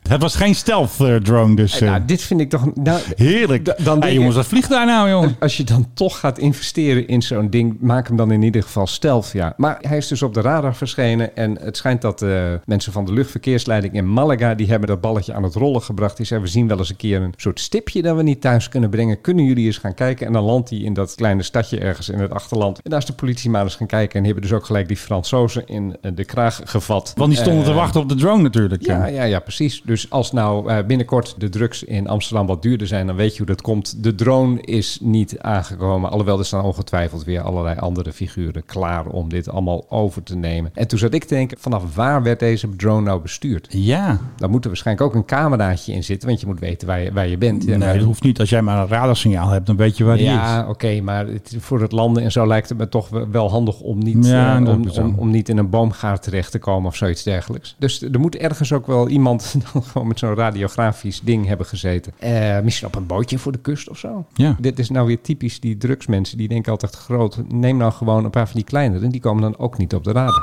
D: Het was geen stealth eh, drone, dus...
E: En,
D: eh,
E: nou, dit vind ik toch... Nou,
D: Heerlijk.
E: Da- dan
D: Hey,
E: denk
D: jongens,
E: ik-
D: wat vliegt daar nou, jongen?
E: Als je dan toch gaat investeren in zo'n ding, maak hem dan in ieder geval stealth, ja. Maar hij is dus op de radar verschenen en het schijnt dat eh, mensen van de luchtverkeersleiding in Malaga, die hebben dat balletje aan het rollen gebracht. Die zeiden, we zien wel eens een keer een soort stipje dat we niet thuis kunnen brengen. Kunnen jullie eens gaan kijken? En dan landt hij in dat kleine stadje ergens in het achterland. En daar is de politie maar eens gaan kijken en die hebben dus ook gelijk die Fransozen in eh, de kraag gevat.
D: Want die stonden
E: Eh,
D: te wachten op de drone natuurlijk.
E: ja,
D: Eh,
E: ja, ja, precies. Dus als nou eh, binnenkort de drugs in Amsterdam wat duurder zijn, dan weet je hoe dat komt. De drone is niet aangekomen. Alhoewel er staan ongetwijfeld weer allerlei andere figuren klaar om dit allemaal over te nemen. En toen zat ik te denken, vanaf waar werd deze drone nou bestuurd?
D: ja.
E: Daar moet er waarschijnlijk ook een cameraatje in zitten, want je moet weten waar je, waar je bent. Ja,
D: Nee,
E: maar-
D: dat hoeft niet. Als jij maar een radarsignaal hebt, dan weet je waar die
E: ja,
D: is.
E: oké, maar het- voor het landen en zo lijkt het me toch we- wel handig om niet,
D: Ja,
E: eh,
D: dat
E: om,
D: is zo.
E: om, om niet in een boomgaard terecht te komen of zoiets dergelijks. Dus er moet ergens ook wel iemand <laughs> dan gewoon met zo'n radiografisch ding hebben gezeten. Eh, misschien op een bootje voor de kust of zo.
D: Ja.
E: Dit is nou weer typisch die drugsmensen. Die denken altijd groot. Neem nou gewoon een paar van die kleinere. Die komen dan ook niet op de radar.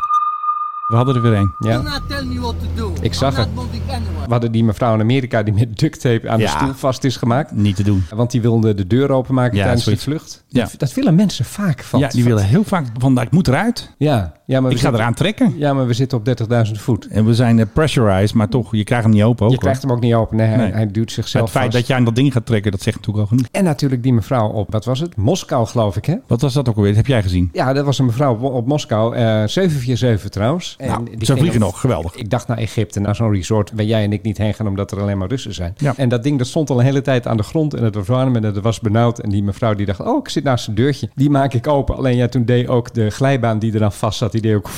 D: We hadden er weer een.
E: Ja. Ik zag het. We hadden die mevrouw in Amerika die met duct tape aan de
D: Ja.
E: stoel vast is gemaakt.
D: Niet te doen.
E: Want die wilde de deur openmaken
D: Ja,
E: tijdens de
D: zoiets.
E: vlucht.
D: Ja.
E: Dat- Dat willen mensen vaak van.
D: ja, die willen heel vaak van, nou, ik moet eruit.
E: Ja, ja, maar we
D: Ik ga
E: Oh, zitten-
D: eraan trekken.
E: Ja, maar we zitten op 30.000 voet.
D: En we zijn eh, pressurized, maar toch, je krijgt hem niet open ook.
E: Je krijgt hem ook niet open. Nee, hij,
D: Nee.
E: hij duwt
D: hoor.
E: zichzelf
D: Het feit
E: vast.
D: dat jij aan dat ding gaat trekken, dat zegt natuurlijk al genoeg.
E: En natuurlijk die mevrouw op, wat was het? Moskou, geloof ik, hè?
D: Wat was dat ook alweer? Dat heb jij gezien.
E: Ja, dat was een mevrouw op, op Moskou. eh 747 trouwens. En
D: Nou,
E: die
D: ze
E: ging
D: vliegen
E: op-
D: nog. Geweldig.
E: Ik dacht naar Egypte, naar zo'n resort waar jij en ik niet heen gaan omdat er alleen maar Russen zijn.
D: Ja.
E: En dat ding dat stond al een hele tijd aan de grond en het was warm en het was benauwd. En die mevrouw die dacht, oh ik zit naast een deurtje, die maak ik open. Alleen ja, toen deed ook de glijbaan die eraan vast zat, die deed ook...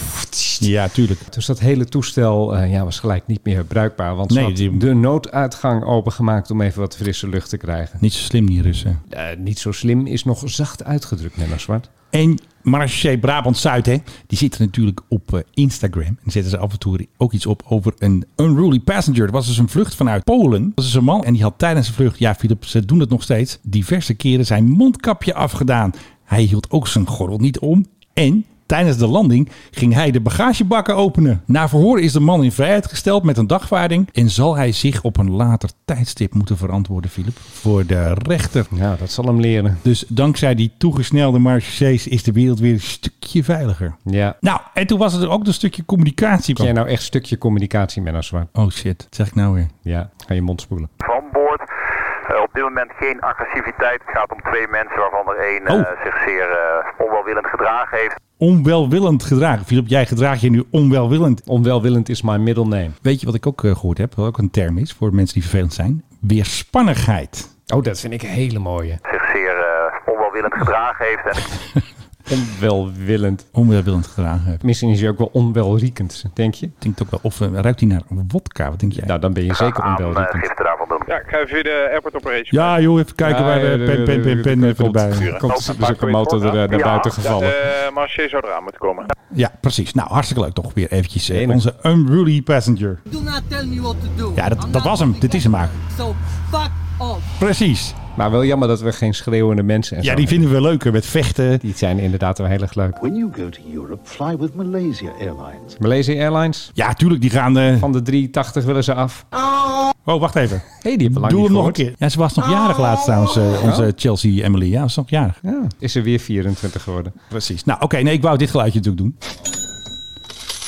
D: Ja, tuurlijk.
E: Dus dat hele toestel eh, ja, was gelijk niet meer bruikbaar. Want ze
D: Nee,
E: had
D: die-
E: de nooduitgang opengemaakt om even wat frisse lucht te krijgen.
D: Niet zo slim dus, die Russen.
E: Eh, niet zo slim is nog zacht uitgedrukt, Menno Zwart.
D: En Marché Brabant-Zuid, hè, die zitten natuurlijk op eh, Instagram. En zetten ze af en toe ook iets op over een unruly passenger. Er was dus een vlucht vanuit Polen. Dat was dus een man en die had tijdens de vlucht, ja Filip, ze doen het nog steeds, diverse keren zijn mondkapje afgedaan. Hij hield ook zijn gordel niet om. En tijdens de landing ging hij de bagagebakken openen. Na verhoor is de man in vrijheid gesteld met een dagvaarding. En zal hij zich op een later tijdstip moeten verantwoorden, Filip, voor de rechter.
E: Ja, dat zal hem leren.
D: Dus dankzij die toegesnelde marchees is de wereld weer een stukje veiliger.
E: Ja.
D: Nou, en toen was het ook een stukje communicatie.
E: Heb jij nou echt stukje communicatie, Menno Zwart?
D: Oh shit, dat zeg ik nou weer.
E: Ja, ga je mond spoelen.
K: van boord. Eh, op dit moment geen agressiviteit. Het gaat om twee mensen waarvan er één eh,
D: Oh.
K: zich zeer eh, onwelwillend gedragen heeft.
D: Onwelwillend gedragen. Filip, jij gedraagt je nu onwelwillend.
E: Onwelwillend is my middle name.
D: Weet je wat ik ook eh, gehoord heb? Wat ook een term is voor mensen die vervelend zijn. Weerspannigheid.
E: Oh, dat vind ik een hele mooie.
K: Zich zeer eh, onwelwillend gedragen heeft. En
E: Onwelwillend.
D: Onwelwillend gedragen. hebben.
E: Misschien is hij ook wel onwelriekend, denk je?
D: Denkt ook wel. Of eh, ruikt hij naar wodka? Wat denk jij?
E: Nou, dan ben je zeker
K: aan eh,
E: onwelriekend.
K: giften daarvan doen.
J: ik ga even de airport operation.
D: Ja, joh, even kijken waar
E: eh,
D: we pen, pen, pen, pen even erbij.
E: Komt er dus ook een motor er, eh, naar
K: Ja.
E: buiten gevallen.
J: Marché zou eraan moeten komen.
D: Ja, precies. Nou, hartstikke leuk toch weer eventjes. eh,
E: Enig.
D: onze unruly passenger. Ja, dat, dat was hem. Dit is hem eigenlijk. Precies.
E: Maar wel jammer dat we geen schreeuwende mensen en
D: Ja,
E: zo
D: die
E: hebben.
D: vinden we leuker met vechten.
E: Die zijn inderdaad wel heel erg leuk.
L: When you go to Europe, fly with Malaysia Airlines.
E: Malaysia Airlines,
D: Ja, tuurlijk, die gaan... eh,
E: van de 380 willen ze af.
D: Oh, wacht even.
E: hey, die hebben we lang
D: Doe
E: niet
D: hem nog een
E: gehoord.
D: keer. Ja, ze was nog jarig laatst trouwens, eh, onze Chelsea Emily. Ja, ze was nog jarig.
E: Ja, is er weer 24 geworden.
D: Precies. Nou, oké, nee, ik wou dit geluidje natuurlijk doen.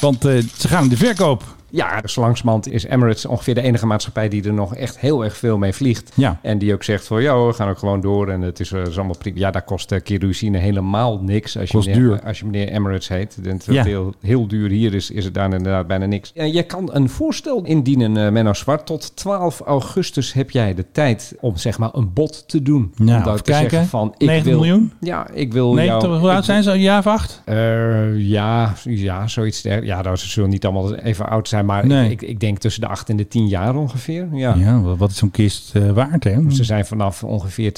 D: Want eh, ze gaan in de verkoop.
E: Ja, dus langzamerhand is Emirates ongeveer de enige maatschappij die er nog echt heel erg veel mee vliegt.
D: Ja.
E: En die ook zegt van, joh, we gaan ook gewoon door en het is, eh, is allemaal prima. Ja, daar kost eh, kerosine helemaal niks als je,
D: Kost
E: meneer,
D: duur.
E: als je meneer Emirates heet. En
D: Ja.
E: Terwijl heel, heel duur hier is, is het daar inderdaad bijna niks. En je kan een voorstel indienen, eh, Menno Zwart. Tot 12 augustus heb jij de tijd om zeg maar een bod te doen.
D: Ja,
E: om daar
D: Nou, even kijken. 90
E: wil,
D: miljoen?
E: Ja, ik wil
D: Nee,
E: jou...
D: toch, hoe
E: ik-
D: oud zijn ze? Een jaar of acht?
E: eh, ja, ja, zoiets. der- Ja, nou, ze zullen niet allemaal even oud zijn, maar
D: Nee.
E: ik, ik denk tussen de 8 en de 10 jaar ongeveer. Ja.
D: Ja, wat- wat is zo'n kist eh, waard, hè?
E: Ze zijn vanaf ongeveer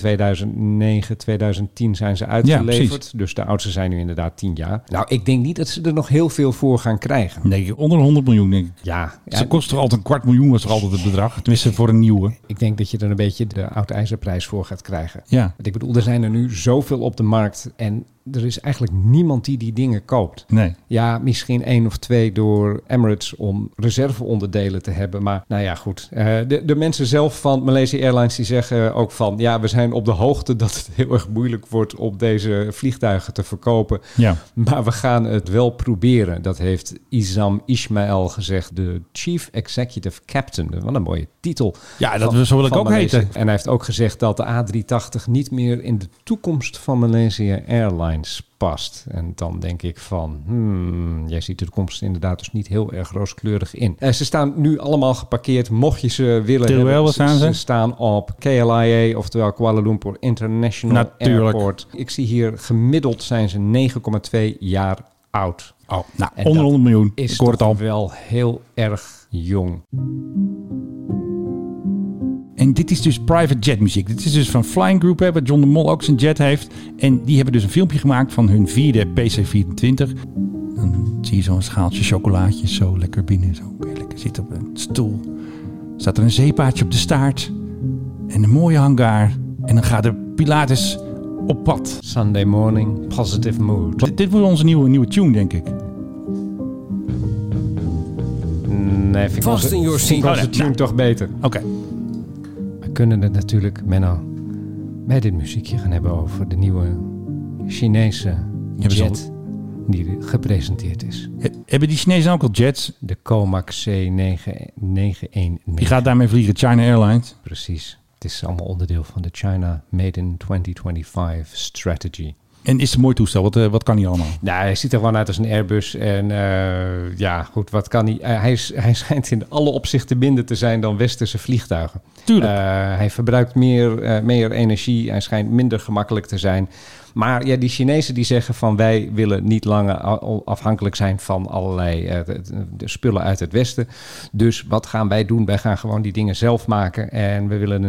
E: 2009, 2010 zijn ze uitgeleverd. dus de oudste zijn nu inderdaad 10 jaar. Nou, ik denk niet dat ze er nog heel veel voor gaan krijgen.
D: Nee, onder de 100 miljoen, denk ik.
E: Ja, ja,
D: Ze kost toch altijd een kwart miljoen, was toch altijd het bedrag? Tenminste, voor een nieuwe.
E: ik denk dat je er een beetje de oud-ijzerprijs voor gaat krijgen.
D: Ja.
E: Want ik bedoel, er zijn er nu zoveel op de markt en er is eigenlijk niemand die die dingen koopt.
D: Nee.
E: Ja, misschien één of twee door Emirates om reserveonderdelen te hebben. Maar nou ja, goed. Eh, de, de mensen zelf van Malaysia Airlines die zeggen ook van... ja, we zijn op de hoogte dat het heel erg moeilijk wordt om deze vliegtuigen te verkopen.
D: Ja.
E: Maar we gaan het wel proberen. Dat heeft Isam Ismail gezegd, de Chief Executive Captain. Wat een mooie titel.
D: Ja, dat wil- zo wil ik
E: van
D: ook
E: Malaysia.
D: heten.
E: En hij heeft ook gezegd dat de A380 niet meer in de toekomst van Malaysia Airlines past. En dan denk ik van, hmm, jij ziet de toekomst inderdaad dus niet heel erg rooskleurig in. Eh, ze staan nu allemaal geparkeerd, mocht je ze willen
D: Terwijl,
E: hebben.
D: waar staan ze?
E: staan op KLIA, oftewel Kuala Lumpur International
D: Natuurlijk.
E: Airport. Ik zie hier gemiddeld zijn ze 9,2 jaar oud.
D: Oh, nou,
E: En
D: onder
E: dat
D: 100 miljoen.
E: Is
D: Ik hoor het
E: toch
D: al.
E: wel heel erg jong.
D: En dit is dus private jet muziek. Dit is dus van Flying Group, hè, waar John de Mol ook zijn jet heeft. En die hebben dus een filmpje gemaakt van hun vierde PC-24. Dan zie je zo'n schaaltje chocolaatjes zo lekker binnen. Zo kun je lekker zitten op een stoel. Staat er een zeepaardje op de staart. En een mooie hangar. En dan gaat de Pilatus op pad.
E: Sunday morning, positive mood.
D: Dit, dit wordt onze nieuwe, nieuwe tune, denk ik.
E: dan eh, vind ik
F: Vast
E: onze,
F: in your
E: vind ik
F: seat. Oh,
E: onze
F: nee,
E: tune
F: nou.
E: toch beter.
D: Oké.
E: We kunnen het natuurlijk, Menno, bij dit muziekje gaan hebben over de nieuwe Chinese
D: Hebben ze al-
E: jet die gepresenteerd is.
D: Hebben die Chinezen ook al jets?
E: De Comac C9919.
D: Die gaat daarmee vliegen, China Airlines.
E: Precies. Het is allemaal onderdeel van de China Made in 2025 strategy.
D: En is het een mooi toestel? Wat, eh, wat kan die allemaal?
E: Nou, hij ziet er gewoon uit als een Airbus. En eh, ja, goed, wat kan hij? Eh, hij, is, <laughs> hij schijnt in alle opzichten minder te zijn dan westerse vliegtuigen.
D: Tuurlijk.
E: Eh, hij verbruikt meer, eh, meer energie. Hij schijnt minder gemakkelijk te zijn. Maar ja, die Chinezen die zeggen van wij willen niet langer a- afhankelijk zijn van allerlei eh, de- de- de spullen uit het Westen. Dus wat gaan wij doen? Wij gaan gewoon die dingen zelf maken. En we willen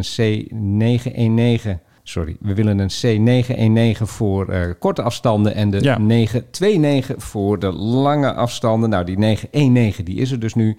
E: een C919. Sorry, we willen een C919 voor eh, korte afstanden en de
D: Ja.
E: 929 voor de lange afstanden. Nou, die 919 die is er dus nu.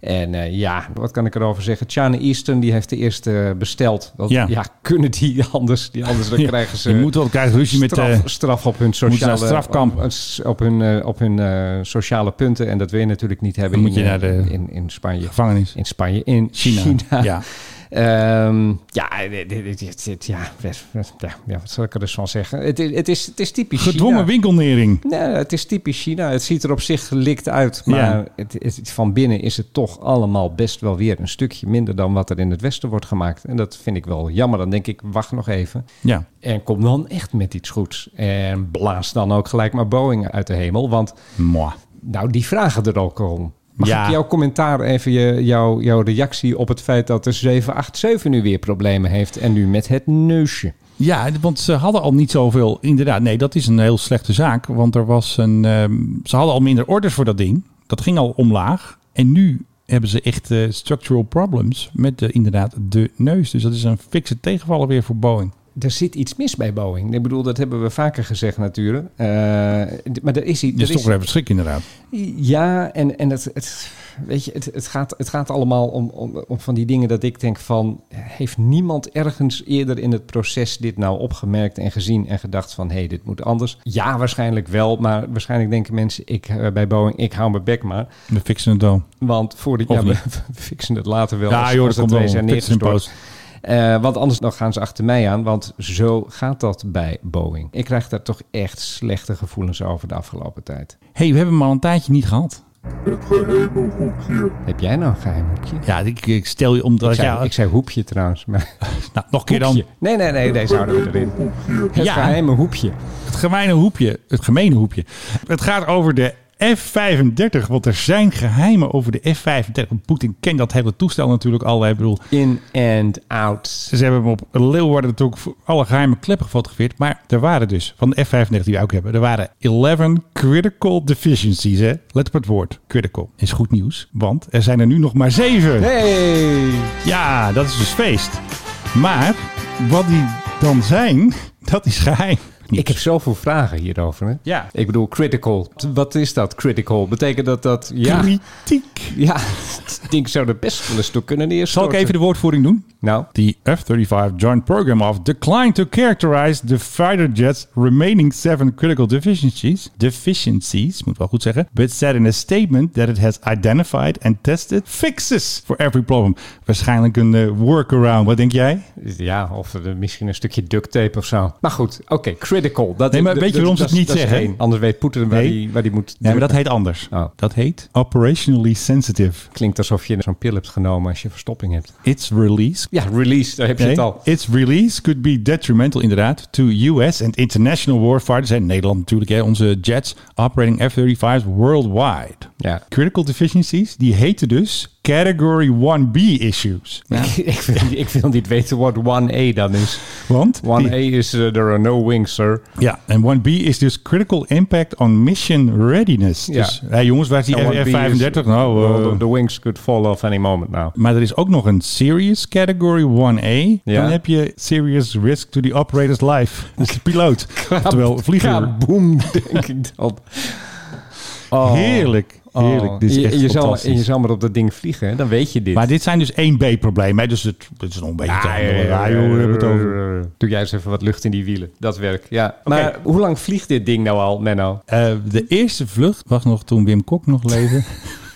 E: En eh, ja, wat kan ik erover zeggen? China Eastern die heeft de eerste eh, besteld. Want,
D: Ja.
E: ja. kunnen die anders? Die anders
D: <laughs>
E: dan
D: Ja,
E: krijgen ze
D: je moet wel krijgen ruzie met,
E: straf,
D: eh,
E: straf op hun
D: ze naar het
E: sociale
D: strafkamp.
E: Op, op hun, eh, op hun eh, sociale punten. En dat wil je natuurlijk niet hebben
D: Dan moet
E: in,
D: je naar de
E: eh, in, in Spanje.
D: Gevangenis.
E: In Spanje, in
D: China,
E: China.
D: ja.
E: Ehm, ja, dit- dit- dit- dit- ja, best- best- ja, ja, wat zal ik er dus van zeggen? Het, is- het, is, het is typisch
D: Gedwongen
E: China.
D: winkelnering.
E: Nee, het is typisch China. Het ziet er op zich gelikt uit. Maar
D: Ja.
E: het, het- van binnen is het toch allemaal best wel weer een stukje minder dan wat er in het Westen wordt gemaakt. En dat vind ik wel jammer. Dan denk ik, wacht nog even.
D: Ja.
E: En kom dan echt met iets goeds. En blaas dan ook gelijk maar Boeing uit de hemel. Want
D: Mwah.
E: nou, die vragen er ook om. Mag
D: Ja.
E: ik jouw commentaar even, je, jouw, jouw reactie op het feit dat de 787 nu weer problemen heeft. En nu met het neusje.
D: Ja, want ze hadden al niet zoveel. Inderdaad, nee, dat is een heel slechte zaak. Want er was een. ehm, ze hadden al minder orders voor dat ding. Dat ging al omlaag. En nu hebben ze echt eh, structural problems met de, inderdaad de neus. Dus dat is een fikse tegenvaller weer voor Boeing.
E: Er zit iets mis bij Boeing. Ik bedoel, dat hebben we vaker gezegd natuurlijk. Eh, d- maar er is iets.
D: Dus
E: Er
D: toch
E: is,
D: weer even schrik, inderdaad.
E: ja, en, en het, het, weet je, het, het, gaat, het gaat allemaal om, om, om van die dingen dat ik denk van... heeft niemand ergens eerder in het proces dit nou opgemerkt en gezien... en gedacht van, hé, hey, dit moet anders? Ja, waarschijnlijk wel. Maar waarschijnlijk denken mensen ik, eh, bij Boeing, ik hou mijn bek maar.
D: We fixen het wel.
E: Want voor de,
D: Of
E: ja, we,
D: niet?
E: we <laughs> fixen het later wel.
D: ja,
E: als-
D: joh,
E: als
D: dat
E: de
D: komt wel.
E: twee zijn
D: Fixen in
E: neergestort.
D: post.
E: Eh, want anders dan gaan ze achter mij aan, want zo gaat dat bij Boeing. Ik krijg daar toch echt slechte gevoelens over de afgelopen tijd.
D: hey, we hebben hem al een tijdje niet gehad.
E: Heb jij nou een geheim hoekje?
D: Ja, ik, ik stel je omdat.
E: Ik zei,
D: ja,
E: ik zei hoepje trouwens, maar
D: nou, nog een keer dan.
E: hoekje. Nee, nee, nee, deze houden we erin. Het
D: Ja.
E: geheime hoepje.
D: Het gemene hoepje. Het gemene hoepje. Het gaat over de F-35. Want er zijn geheimen over de F-35. Want Poetin kent dat hele toestel natuurlijk al. Ik bedoel,
E: In and out.
D: ze hebben hem op Leeuwarden natuurlijk voor alle geheime kleppen gefotografeerd. Maar er waren dus, van de F-35 die wij ook hebben, er waren 11 critical deficiencies. Hè? Let op het woord, critical. Is goed nieuws, want er zijn er nu nog maar 7.
E: Hey!
D: Ja, dat is dus feest. Maar wat die dan zijn, <laughs> dat is geheim.
E: Ik heb zoveel vragen hierover. Hè?
D: Ja.
E: Ik bedoel, critical. Wat is dat, critical? Betekent dat dat... Ja,
D: kritiek.
E: ja het ding zou er best wel eens door kunnen
D: Zal
E: neerstorten.
D: ik even de woordvoering doen?
E: Nou,
D: The F-35 Joint Program of declined to characterize the fighter jet's remaining seven critical deficiencies, deficiencies, moet wel goed zeggen, but said in a statement that it has identified and tested fixes for every problem. Waarschijnlijk een eh, workaround, wat denk jij?
E: Ja, of er misschien een stukje duct tape of zo. Maar goed, oké, critical. Dat,
D: Nee, maar
E: dat-
D: weet je waarom ze
E: dat-
D: het niet
E: dat is
D: zeggen?
E: geen- Anders weet Poetin waar
D: Nee.
E: die waar die moet
D: Nee, maar dat
E: drukken.
D: heet anders.
E: Oh.
D: Dat heet operationally sensitive.
E: Klinkt alsof je zo'n pil hebt genomen als je verstopping hebt.
D: Its release
E: Ja, release, daar heb je
D: Nee,
E: het
D: <laughs>
E: al.
D: Its release could be detrimental inderdaad to US and international warfighters. En Nederland natuurlijk, hè, onze jets operating F-35's worldwide.
E: Ja.
D: Critical deficiencies, die heten dus Category 1B issues.
E: ik, wil, ik wil niet weten wat 1A dan is.
D: <laughs> Want?
E: 1A
D: die-
E: is eh, there are no wings, sir.
D: ja, en 1B is dus Critical Impact on Mission Readiness.
E: Ja.
D: Dus, hé jongens, waar is die
E: En 1B is,
D: F-35? Nou, eh,
E: well, the, the wings could fall off any moment now.
D: Maar er is ook nog een Serious Category 1A.
E: Ja.
D: Dan heb je Serious Risk to the Operator's Life. <laughs> Dus de piloot. <laughs> Terwijl vlieger.
E: Kaboom, denk ik dan. Oh.
D: Heerlijk.
E: Oh.
D: Heerlijk. Dit is
E: je,
D: echt
E: je zal,
D: fantastisch.
E: en je zal maar op dat ding vliegen, hè? dan weet je dit.
D: Maar dit zijn dus 1B-problemen. hè? Dus het, het is nog een beetje te handelen. Ja, joh, we hebben het over.
E: eh,
D: eh,
E: Doe jij eens even wat lucht in die wielen. Dat werk, ja.
D: Oké.
E: Maar hoe lang vliegt dit ding nou al, Menno? <laughs>
D: <laughs> Eh, de eerste vlucht was nog toen Wim Kok nog leefde.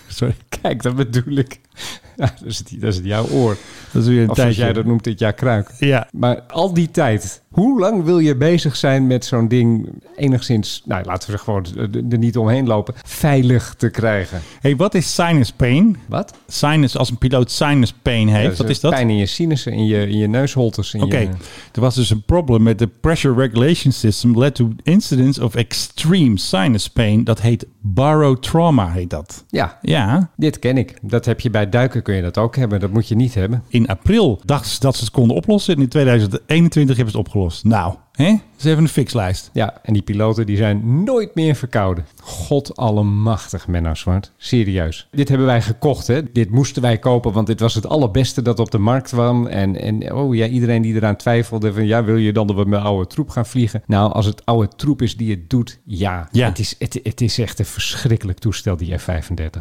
D: Sorry.
E: Kijk, dat bedoel ik. <laughs> Ja, dat, is, die- dat is jouw oor.
D: Dat is weer een
E: of zoals
D: tijdje.
E: jij dat noemt, dit jaar kruik.
D: Ja.
E: Maar al die tijd, hoe lang wil je bezig zijn met zo'n ding enigszins, nou laten we er gewoon eh, er niet omheen lopen, veilig te krijgen?
D: hey, wat is sinus pain?
E: Wat?
D: Sinus, als een piloot sinus pain heeft,
E: Ja,
D: wat is dat?
E: dus Pijn in je sinussen, in je, in je neusholtes. in
D: Oké,
E: je-
D: er was dus een probleem met de pressure regulation system led to incidence of extreme sinus pain. Dat heet barotrauma, heet dat.
E: Ja.
D: Ja.
E: Dit ken ik. Dat heb je bij duiken kun je dat ook hebben. Dat moet je niet hebben.
D: In april dachten ze dat ze het konden oplossen en in 2021 hebben ze het opgelost. Nou, hè? Dat is even een fixlijst.
E: Ja, en die piloten die zijn nooit meer verkouden. God allemachtig, Menno Zwart. Serieus. Dit hebben wij gekocht, hè. Dit moesten wij kopen, want dit was het allerbeste dat op de markt kwam. En, en oh ja, iedereen die eraan twijfelde van... ja, wil je dan dat we met oude troep gaan vliegen? Nou, als het oude troep is die het doet, ja.
D: Ja.
E: Het, is, het, het is echt een verschrikkelijk toestel, die F-35.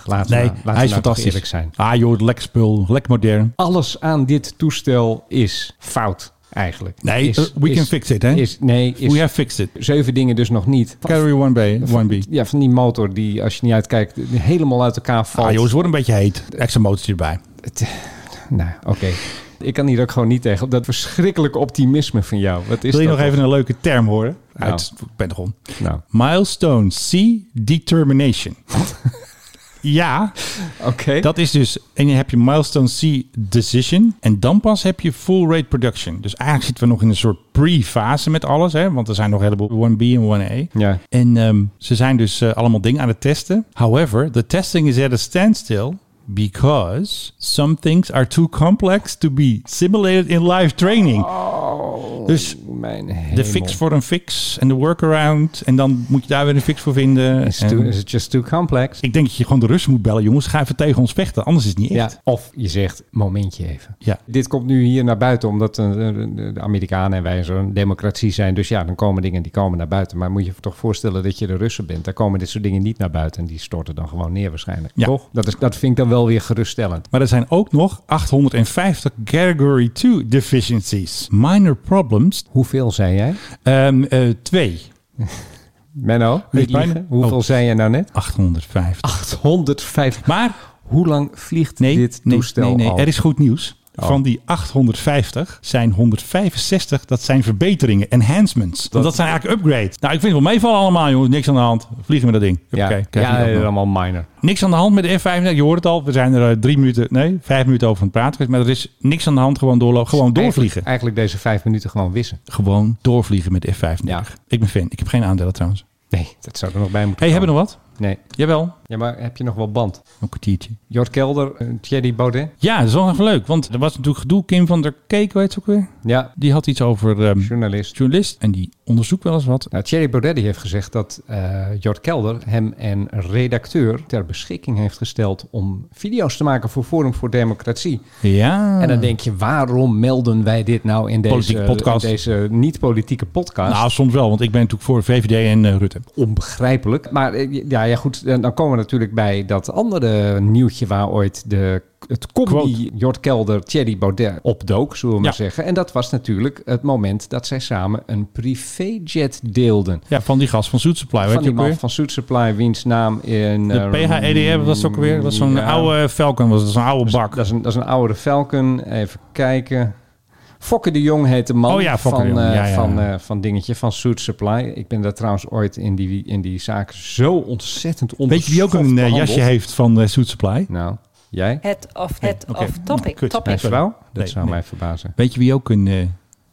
E: Laten
D: Nee,
E: we,
D: hij
E: laten
D: is
E: we nou toch
D: fantastisch.
E: eerlijk zijn.
D: Ah joh, lekker spul, lekker modern.
E: Alles aan dit toestel is fout, eigenlijk.
D: Nee,
E: Is-
D: uh, we
E: is-
D: can fix it, hè?
E: Is, nee, is,
D: We have fixed it.
E: zeven dingen dus nog niet.
D: Carry 1B. 1B.
E: Ja, van die motor die, als je niet uitkijkt, helemaal uit elkaar valt.
D: Ah joh, het wordt een beetje heet. Extra motortje erbij.
E: Nou, oké. Ik kan hier ook gewoon niet tegen. op Dat verschrikkelijk optimisme van jou. Wat is
D: Wil je
E: dat
D: nog even
E: toch?
D: een leuke term horen?
E: Nou.
D: Uit Pentagon.
E: Nou,
D: Milestone C
E: <laughs>
D: Determination. ja,
E: oké.
D: dat is dus. En dan heb je Milestone C Decision. En dan pas heb je Full Rate Production. Dus eigenlijk zitten we nog in een soort pre-fase met alles. Hè? Want er zijn nog een heleboel 1B en 1A.
E: Ja.
D: En ehm, ze zijn dus eh, allemaal dingen aan het testen. However, the testing is at a standstill. Because some things are too complex to be simulated in live training. dus
E: Mijn
D: de
E: Oh. hemel.
D: fix voor een fix en de workaround. En dan moet je daar weer een fix voor vinden.
E: Is
D: En-
E: too- is it just too complex?
D: ik denk dat je gewoon de Russen moet bellen. Jongens, ga even tegen ons vechten. Anders is het niet echt.
E: Ja, of je zegt, momentje even.
D: Ja.
E: Dit komt nu hier naar buiten omdat eh, de Amerikanen en wij zo'n democratie zijn. Dus ja, dan komen dingen die komen naar buiten. Maar moet je je toch voorstellen dat je de Russen bent. Daar komen dit soort dingen niet naar buiten. En die storten dan gewoon neer waarschijnlijk.
D: Ja.
E: Toch? Dat, is, dat vind ik dan wel weer geruststellend.
D: Maar er zijn ook nog 850 Category 2 deficiencies. Minor problems.
E: Hoeveel zijn jij?
D: Ehm, eh, Twee.
E: Menno,
D: Nee,
E: niet liegen.
D: bijna.
E: hoeveel
D: Oh.
E: zijn jij nou net?
D: 850.
E: 850.
D: Maar
E: Hoe lang vliegt
D: nee,
E: dit
D: nee,
E: toestel
D: nee, nee.
E: al?
D: Er is goed nieuws.
E: Oh.
D: Van die 850 zijn 165, dat zijn verbeteringen, enhancements. Dat, dat zijn eigenlijk upgrades. Nou, ik vind het wel meevallen allemaal, jongens. Niks aan de hand. Vliegen met dat ding.
E: ja,
D: Hoppakee. Krijg je
E: ja,
D: die ook nog.
E: allemaal minor.
D: Niks aan de hand met de F35. Je hoort het al. We zijn er eh, drie minuten, nee, vijf minuten over aan het praten geweest. Maar er is niks aan de hand. Gewoon doorlopen. Gewoon doorvliegen.
E: Eigenlijk, eigenlijk deze vijf minuten gewoon wissen.
D: Gewoon doorvliegen met de F35.
E: Ja.
D: Ik ben fan. Ik heb geen aandelen trouwens.
E: Nee, dat zou er nog bij moeten
D: hey, hebben we nog wat?
E: nog? Nee.
D: Jawel.
E: Ja, maar heb je nog wel band?
D: Een kwartiertje.
E: Jort Kelder, eh, Thierry Baudet?
D: Ja, dat is wel even leuk. Want er was natuurlijk gedoe. Kim van der Keek, weet je ook weer?
E: Ja,
D: Die had iets over ehm,
E: journalist.
D: journalist. En die onderzoekt wel eens wat.
E: Nou, Thierry Baudet die heeft gezegd dat eh Jort Kelder hem en redacteur ter beschikking heeft gesteld om video's te maken voor Forum voor Democratie.
D: Ja.
E: En dan denk je, waarom melden wij dit nou in deze,
D: Politieke podcast.
E: in deze niet-politieke podcast?
D: Nou, soms wel. Want ik ben natuurlijk voor VVD en eh, Rutte.
E: onbegrijpelijk. Maar eh, ja, ja goed, eh, dan komen we natuurlijk bij dat andere nieuwtje waar ooit de, het combi
D: Quote.
E: Jort Kelder, Thierry Baudet opdook, zullen we
D: Ja.
E: maar zeggen. En dat was natuurlijk het moment dat zij samen een privéjet deelden.
D: Ja, van die gast van Zoet Supply. Weet
E: Van
D: je
E: die
D: ook
E: man
D: weer?
E: van Suit Supply, wiens naam in...
D: De E PHEDR was dat ook weer. Dat was zo'n oude Falcon. Was dat zo'n oude bak.
E: Dat is, een, dat is een oude Falcon. Even kijken. Fokke de Jong heet de man
D: Oh ja, Fokke
E: van,
D: de Jong.
E: eh,
D: Ja, ja.
E: Van, eh, van dingetje, van Suit Supply. Ik ben daar trouwens ooit in die, in die zaak zo ontzettend
D: Weet
E: onderschoft
D: je wie ook een eh,
E: behandeld.
D: jasje heeft van eh, Suit Supply?
E: Nou, jij?
M: Het of het
E: Oh,
D: Oké. Nou,
M: of topic.
D: Kut.
M: topic.
E: Mijn vrouw? Dat
D: Nee,
E: zou
D: nee.
E: mij verbazen.
D: Weet je wie ook een, eh,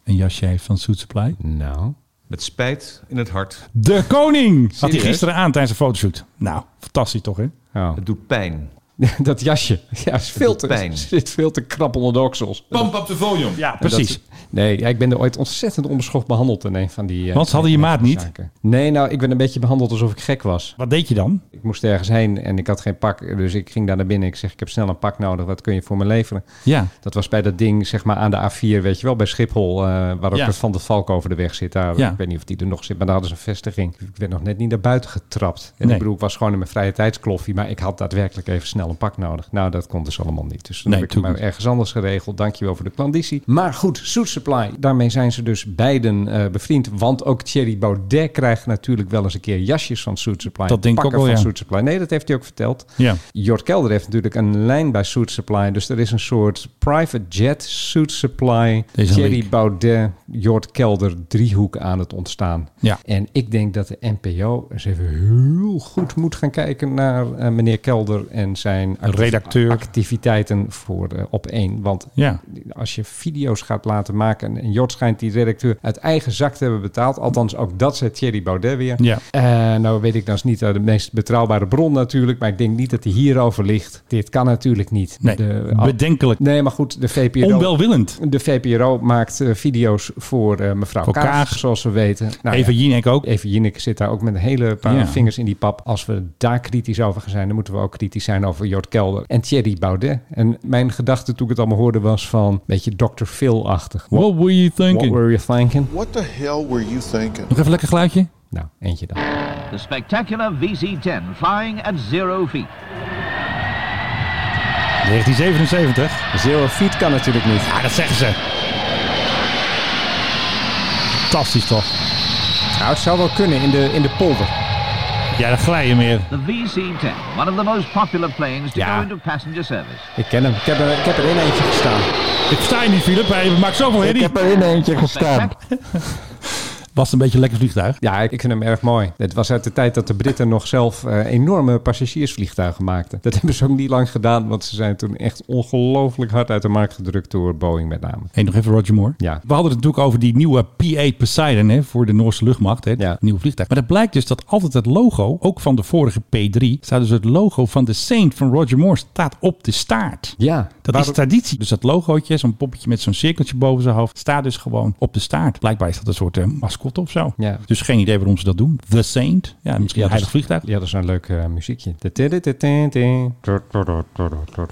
D: een jasje heeft van Suit Supply?
E: Nou.
N: Met spijt in het hart.
D: De koning! <laughs> Had hij
N: Serieus?
D: gisteren aan tijdens een fotoshoot. Nou, fantastisch toch, hè?
E: Oh.
N: Het doet pijn.
E: <laughs> Dat jasje. Ja, is veel
N: doet
E: te,
N: pijn.
E: zit veel te krap onder de oksels.
N: Pamp op de volume.
D: Ja, precies.
E: Dat- nee, ja, ik ben er ooit ontzettend onbeschoft behandeld in een van die... eh,
D: Want ze hadden je maat niet?
E: zaken. Nee, nou, ik ben een beetje behandeld alsof ik gek was.
D: Wat deed je dan?
E: Ik moest ergens heen en ik had geen pak. Dus ik ging daar naar binnen. Ik zeg, ik heb snel een pak nodig. Wat kun je voor me leveren?
D: Ja.
E: Dat was bij dat ding, zeg maar, aan de A4, weet je wel, bij Schiphol. eh, waar ook
D: Ja.
E: de Van de Valk over de weg zit. Daar,
D: Ja.
E: Ik weet niet of die er nog zit, maar daar hadden ze een vestiging. Ik werd nog net niet naar buiten getrapt. En
D: Nee.
E: ik bedoel, ik was gewoon in mijn vrije tijdskloffie. Maar ik had daadwerkelijk even snel een pak nodig. Nou, dat kon dus allemaal niet. Dus toen
D: Nee,
E: heb ik
D: natuurlijk
E: maar ergens anders geregeld. Dankjewel voor de klandizie. Maar goed, Suit Supply. Daarmee zijn ze dus beiden eh, bevriend. Want ook Thierry Baudet krijgt natuurlijk wel eens een keer jasjes van Suit Supply.
D: Dat denk ik
E: pakken
D: ook wel,
E: van
D: ja.
E: Suit Supply. Nee, dat heeft hij ook verteld.
D: Ja.
E: Jort Kelder heeft natuurlijk een lijn bij Suit Supply. Dus er is een soort private jet Suit Supply.
D: Deze
E: Thierry
D: week.
E: Baudet, Jort Kelder driehoek aan het ontstaan.
D: Ja.
E: En ik denk dat de NPO eens even heel goed moet gaan kijken naar eh, meneer Kelder en zijn acti-
D: Redacteur.
E: activiteiten voor eh, op één. Want
D: Ja.
E: als je video's gaat laten maken, en- en Jort schijnt die redacteur uit eigen zak te hebben betaald. Althans, ook dat zei Thierry Baudet weer.
D: Ja.
E: Eh, nou weet ik dat is niet eh, de meest betrouwbare bron natuurlijk, maar ik denk niet dat hij hierover ligt. Dit kan natuurlijk niet.
D: Nee,
E: De-
D: bedenkelijk.
E: Nee, maar goed, de VPRO...
D: Onwelwillend.
E: De VPRO maakt eh, video's voor eh, mevrouw
D: Voor
E: Kaag,
D: Kaag.
E: zoals we weten. Nou
D: Eva Jinek ook.
E: Even Jinek zit daar ook met een hele paar
D: Ja.
E: vingers in die pap. Als we daar kritisch over gaan zijn, dan moeten we ook kritisch zijn over Jort Kelder en Thierry Baudet. En mijn gedachte toen ik het allemaal hoorde was van een beetje Dr. Phil-achtig.
D: What were you thinking?
E: What were you thinking?
M: What the hell were you thinking?
D: Nog even lekker geluidje.
E: Nou, eentje dan.
O: The spectacular VC-10 flying at zero feet.
D: 1977.
E: Zero feet kan natuurlijk niet.
D: Ja, dat zeggen ze. Fantastisch toch?
E: Nou, het zou wel kunnen in de, in de polder.
D: Ja, dan glij je meer.
O: The VC-10, one of the most popular planes to
E: Ja.
O: go into passenger service.
E: Ik ken hem. Ik heb er, ik heb er in eentje gestaan.
D: Ik sta hier niet, Philip. Hij maakt zoveel herrie.
E: Ik heb er in eentje
D: <laughs>
E: gestaan.
D: Was een beetje een lekker vliegtuig.
E: Ja, ik ik vind hem erg mooi. Het was uit de tijd dat de Britten nog zelf eh, enorme passagiersvliegtuigen maakten. Dat <laughs> hebben ze ook niet lang gedaan, want ze zijn toen echt ongelooflijk hard uit de markt gedrukt door Boeing met name.
D: Hey, nog even Roger Moore.
E: Ja.
D: We hadden het natuurlijk over die nieuwe P-8 Poseidon hè, voor de Noorse luchtmacht. Hè, het nieuwe vliegtuig. Maar het blijkt dus dat altijd het logo, ook van de vorige P-3, staat dus het logo van de Saint van Roger Moore staat op de staart.
E: Ja.
D: Dat is traditie. Dus dat logootje, zo'n poppetje met zo'n cirkeltje boven zijn hoofd, staat dus gewoon op de staart. Blijkbaar is dat een soort eh, mascotte of zo.
E: Ja. dus-
D: Dus geen idee waarom ze dat doen. The Saint. Ja, misschien een heilig vliegtuig.
E: Ja, dat is een leuk eh, muziekje. Tudutututu.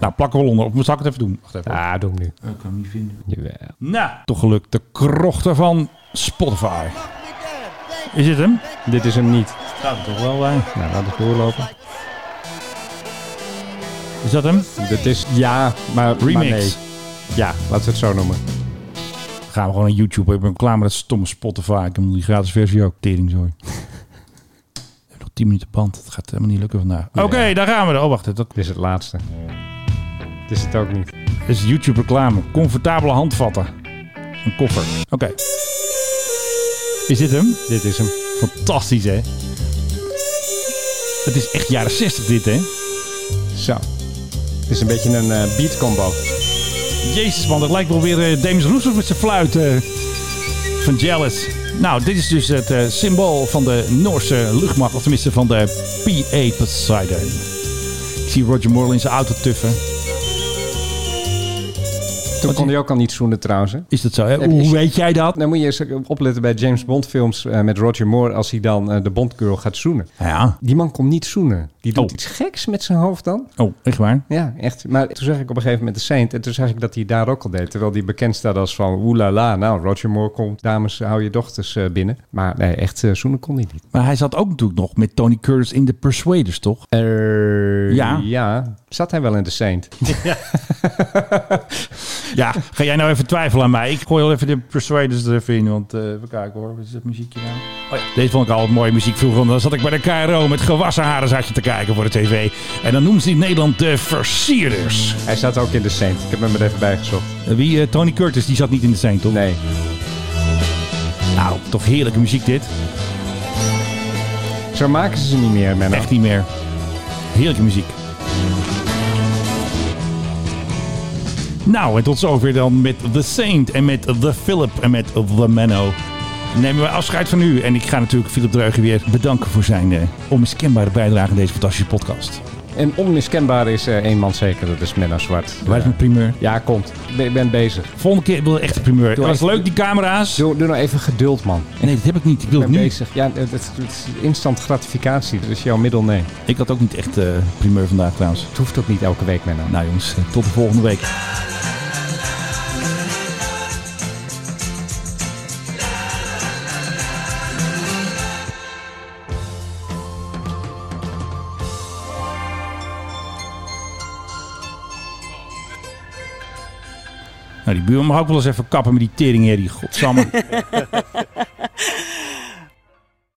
D: Nou, plakken we onder. Of zal ik het even doen? Wacht even.
E: Ah, doe hem nu.
D: Ik kan hem niet vinden.
E: Jawel.
D: Nou, toch gelukt. De krochten van Spotify. Is dit hem?
E: Dit is hem niet.
D: Nou, toch wel wij.
E: Nou, laat het doorlopen.
D: Is dat hem?
E: Dit is ja, maar, maar
D: Remix.
E: nee. Ja, laten we het zo noemen.
D: Dan gaan we gewoon naar YouTube. Ik ben klaar met dat stomme Spotify. Ik heb die gratis versie ook. <laughs> Teringzooi. We hebben nog 10 minuten band. Dat gaat helemaal niet lukken vandaag. Oké, daar gaan we. dan. Oh, wacht. Dat...
E: Dit is het laatste. Dit is het ook niet.
D: Dit is YouTube reclame. Comfortabele handvatten. Een koffer. Oké. Is dit hem?
E: Dit is hem.
D: Fantastisch, hè? Het is echt jaren 60 dit, hè?
E: Zo. Het is een beetje een eh, beat combo.
D: Jezus man, dat lijkt wel weer eh, James Rousseff met zijn fluit eh, van Jealous. Nou, dit is dus het eh, symbool van de Noorse luchtmacht, of tenminste van de P-8 Poseidon. Ik zie Roger Moore in zijn auto tuffen.
E: Toen kon hij ook al niet zoenen trouwens. hè?
D: Is dat zo? Hè? Hoe weet jij dat?
E: Dan moet je eens opletten bij James Bond films eh, met Roger Moore als hij dan eh, de Bondgirl gaat zoenen.
D: Ja.
E: Die man komt niet zoenen. Die doet
D: Oh.
E: iets geks met zijn hoofd dan.
D: Oh, echt waar?
E: Ja, echt. Maar toen zag ik op een gegeven moment de Saint en toen zag ik dat hij daar ook al deed. Terwijl hij bekend staat als van oeh la la, nou Roger Moore komt, dames hou je dochters eh, binnen. Maar nee, echt eh, zoenen kon hij niet.
D: Maar hij zat ook natuurlijk nog met Tony Curtis in The Persuaders, toch? ja.
E: ja, zat hij wel in de Saint?
D: Ja, ga jij nou even twijfelen aan mij? Ik gooi al even de Persuaders er even in, want eh even kijken hoor. Wat is dat muziekje nou? Oh ja, deze vond ik altijd mooie muziek vroeger. Want dan zat ik bij de KRO met gewassen haren zat je te kijken voor de tv. En dan noemen ze in Nederland de Versierders.
E: Hij zat ook in de Saint. Ik heb hem er even bij gezocht.
D: Eh, Wie? eh, Tony Curtis, die zat niet in de scène, toch?
E: Nee.
D: Nou, toch heerlijke muziek dit.
E: Zo maken ze ze niet meer, Menno.
D: Echt niet meer. Heerlijke muziek. Nou, en tot zover dan met The Saint en met The Philip en met The Menno. Nemen we afscheid van u. En ik ga natuurlijk Philip Dreugen weer bedanken voor zijn eh, onmiskenbare bijdrage in deze fantastische podcast.
E: En onmiskenbaar is eh, één man zeker, dat is Menno Zwart. Eh,
D: Waar is mijn primeur?
E: Ja, komt. Ik ben- ik ben bezig.
D: Volgende keer wil ik echt een primeur. Dat was leuk, die camera's.
E: Doe, doe nou even geduld, man.
D: Nee, dat heb ik niet. Ik wil
E: Ik
D: het
E: ben
D: nu.
E: bezig. Ja, het, het- het is instant gratificatie. Dat is jouw middel, nee.
D: Ik had ook niet echt eh, primeur vandaag trouwens.
E: Het hoeft ook niet elke week, Menno.
D: Nou jongens, eh, tot de volgende week. Nou, die buurman mag ook wel eens even kappen met die teringherrie. Godsamme.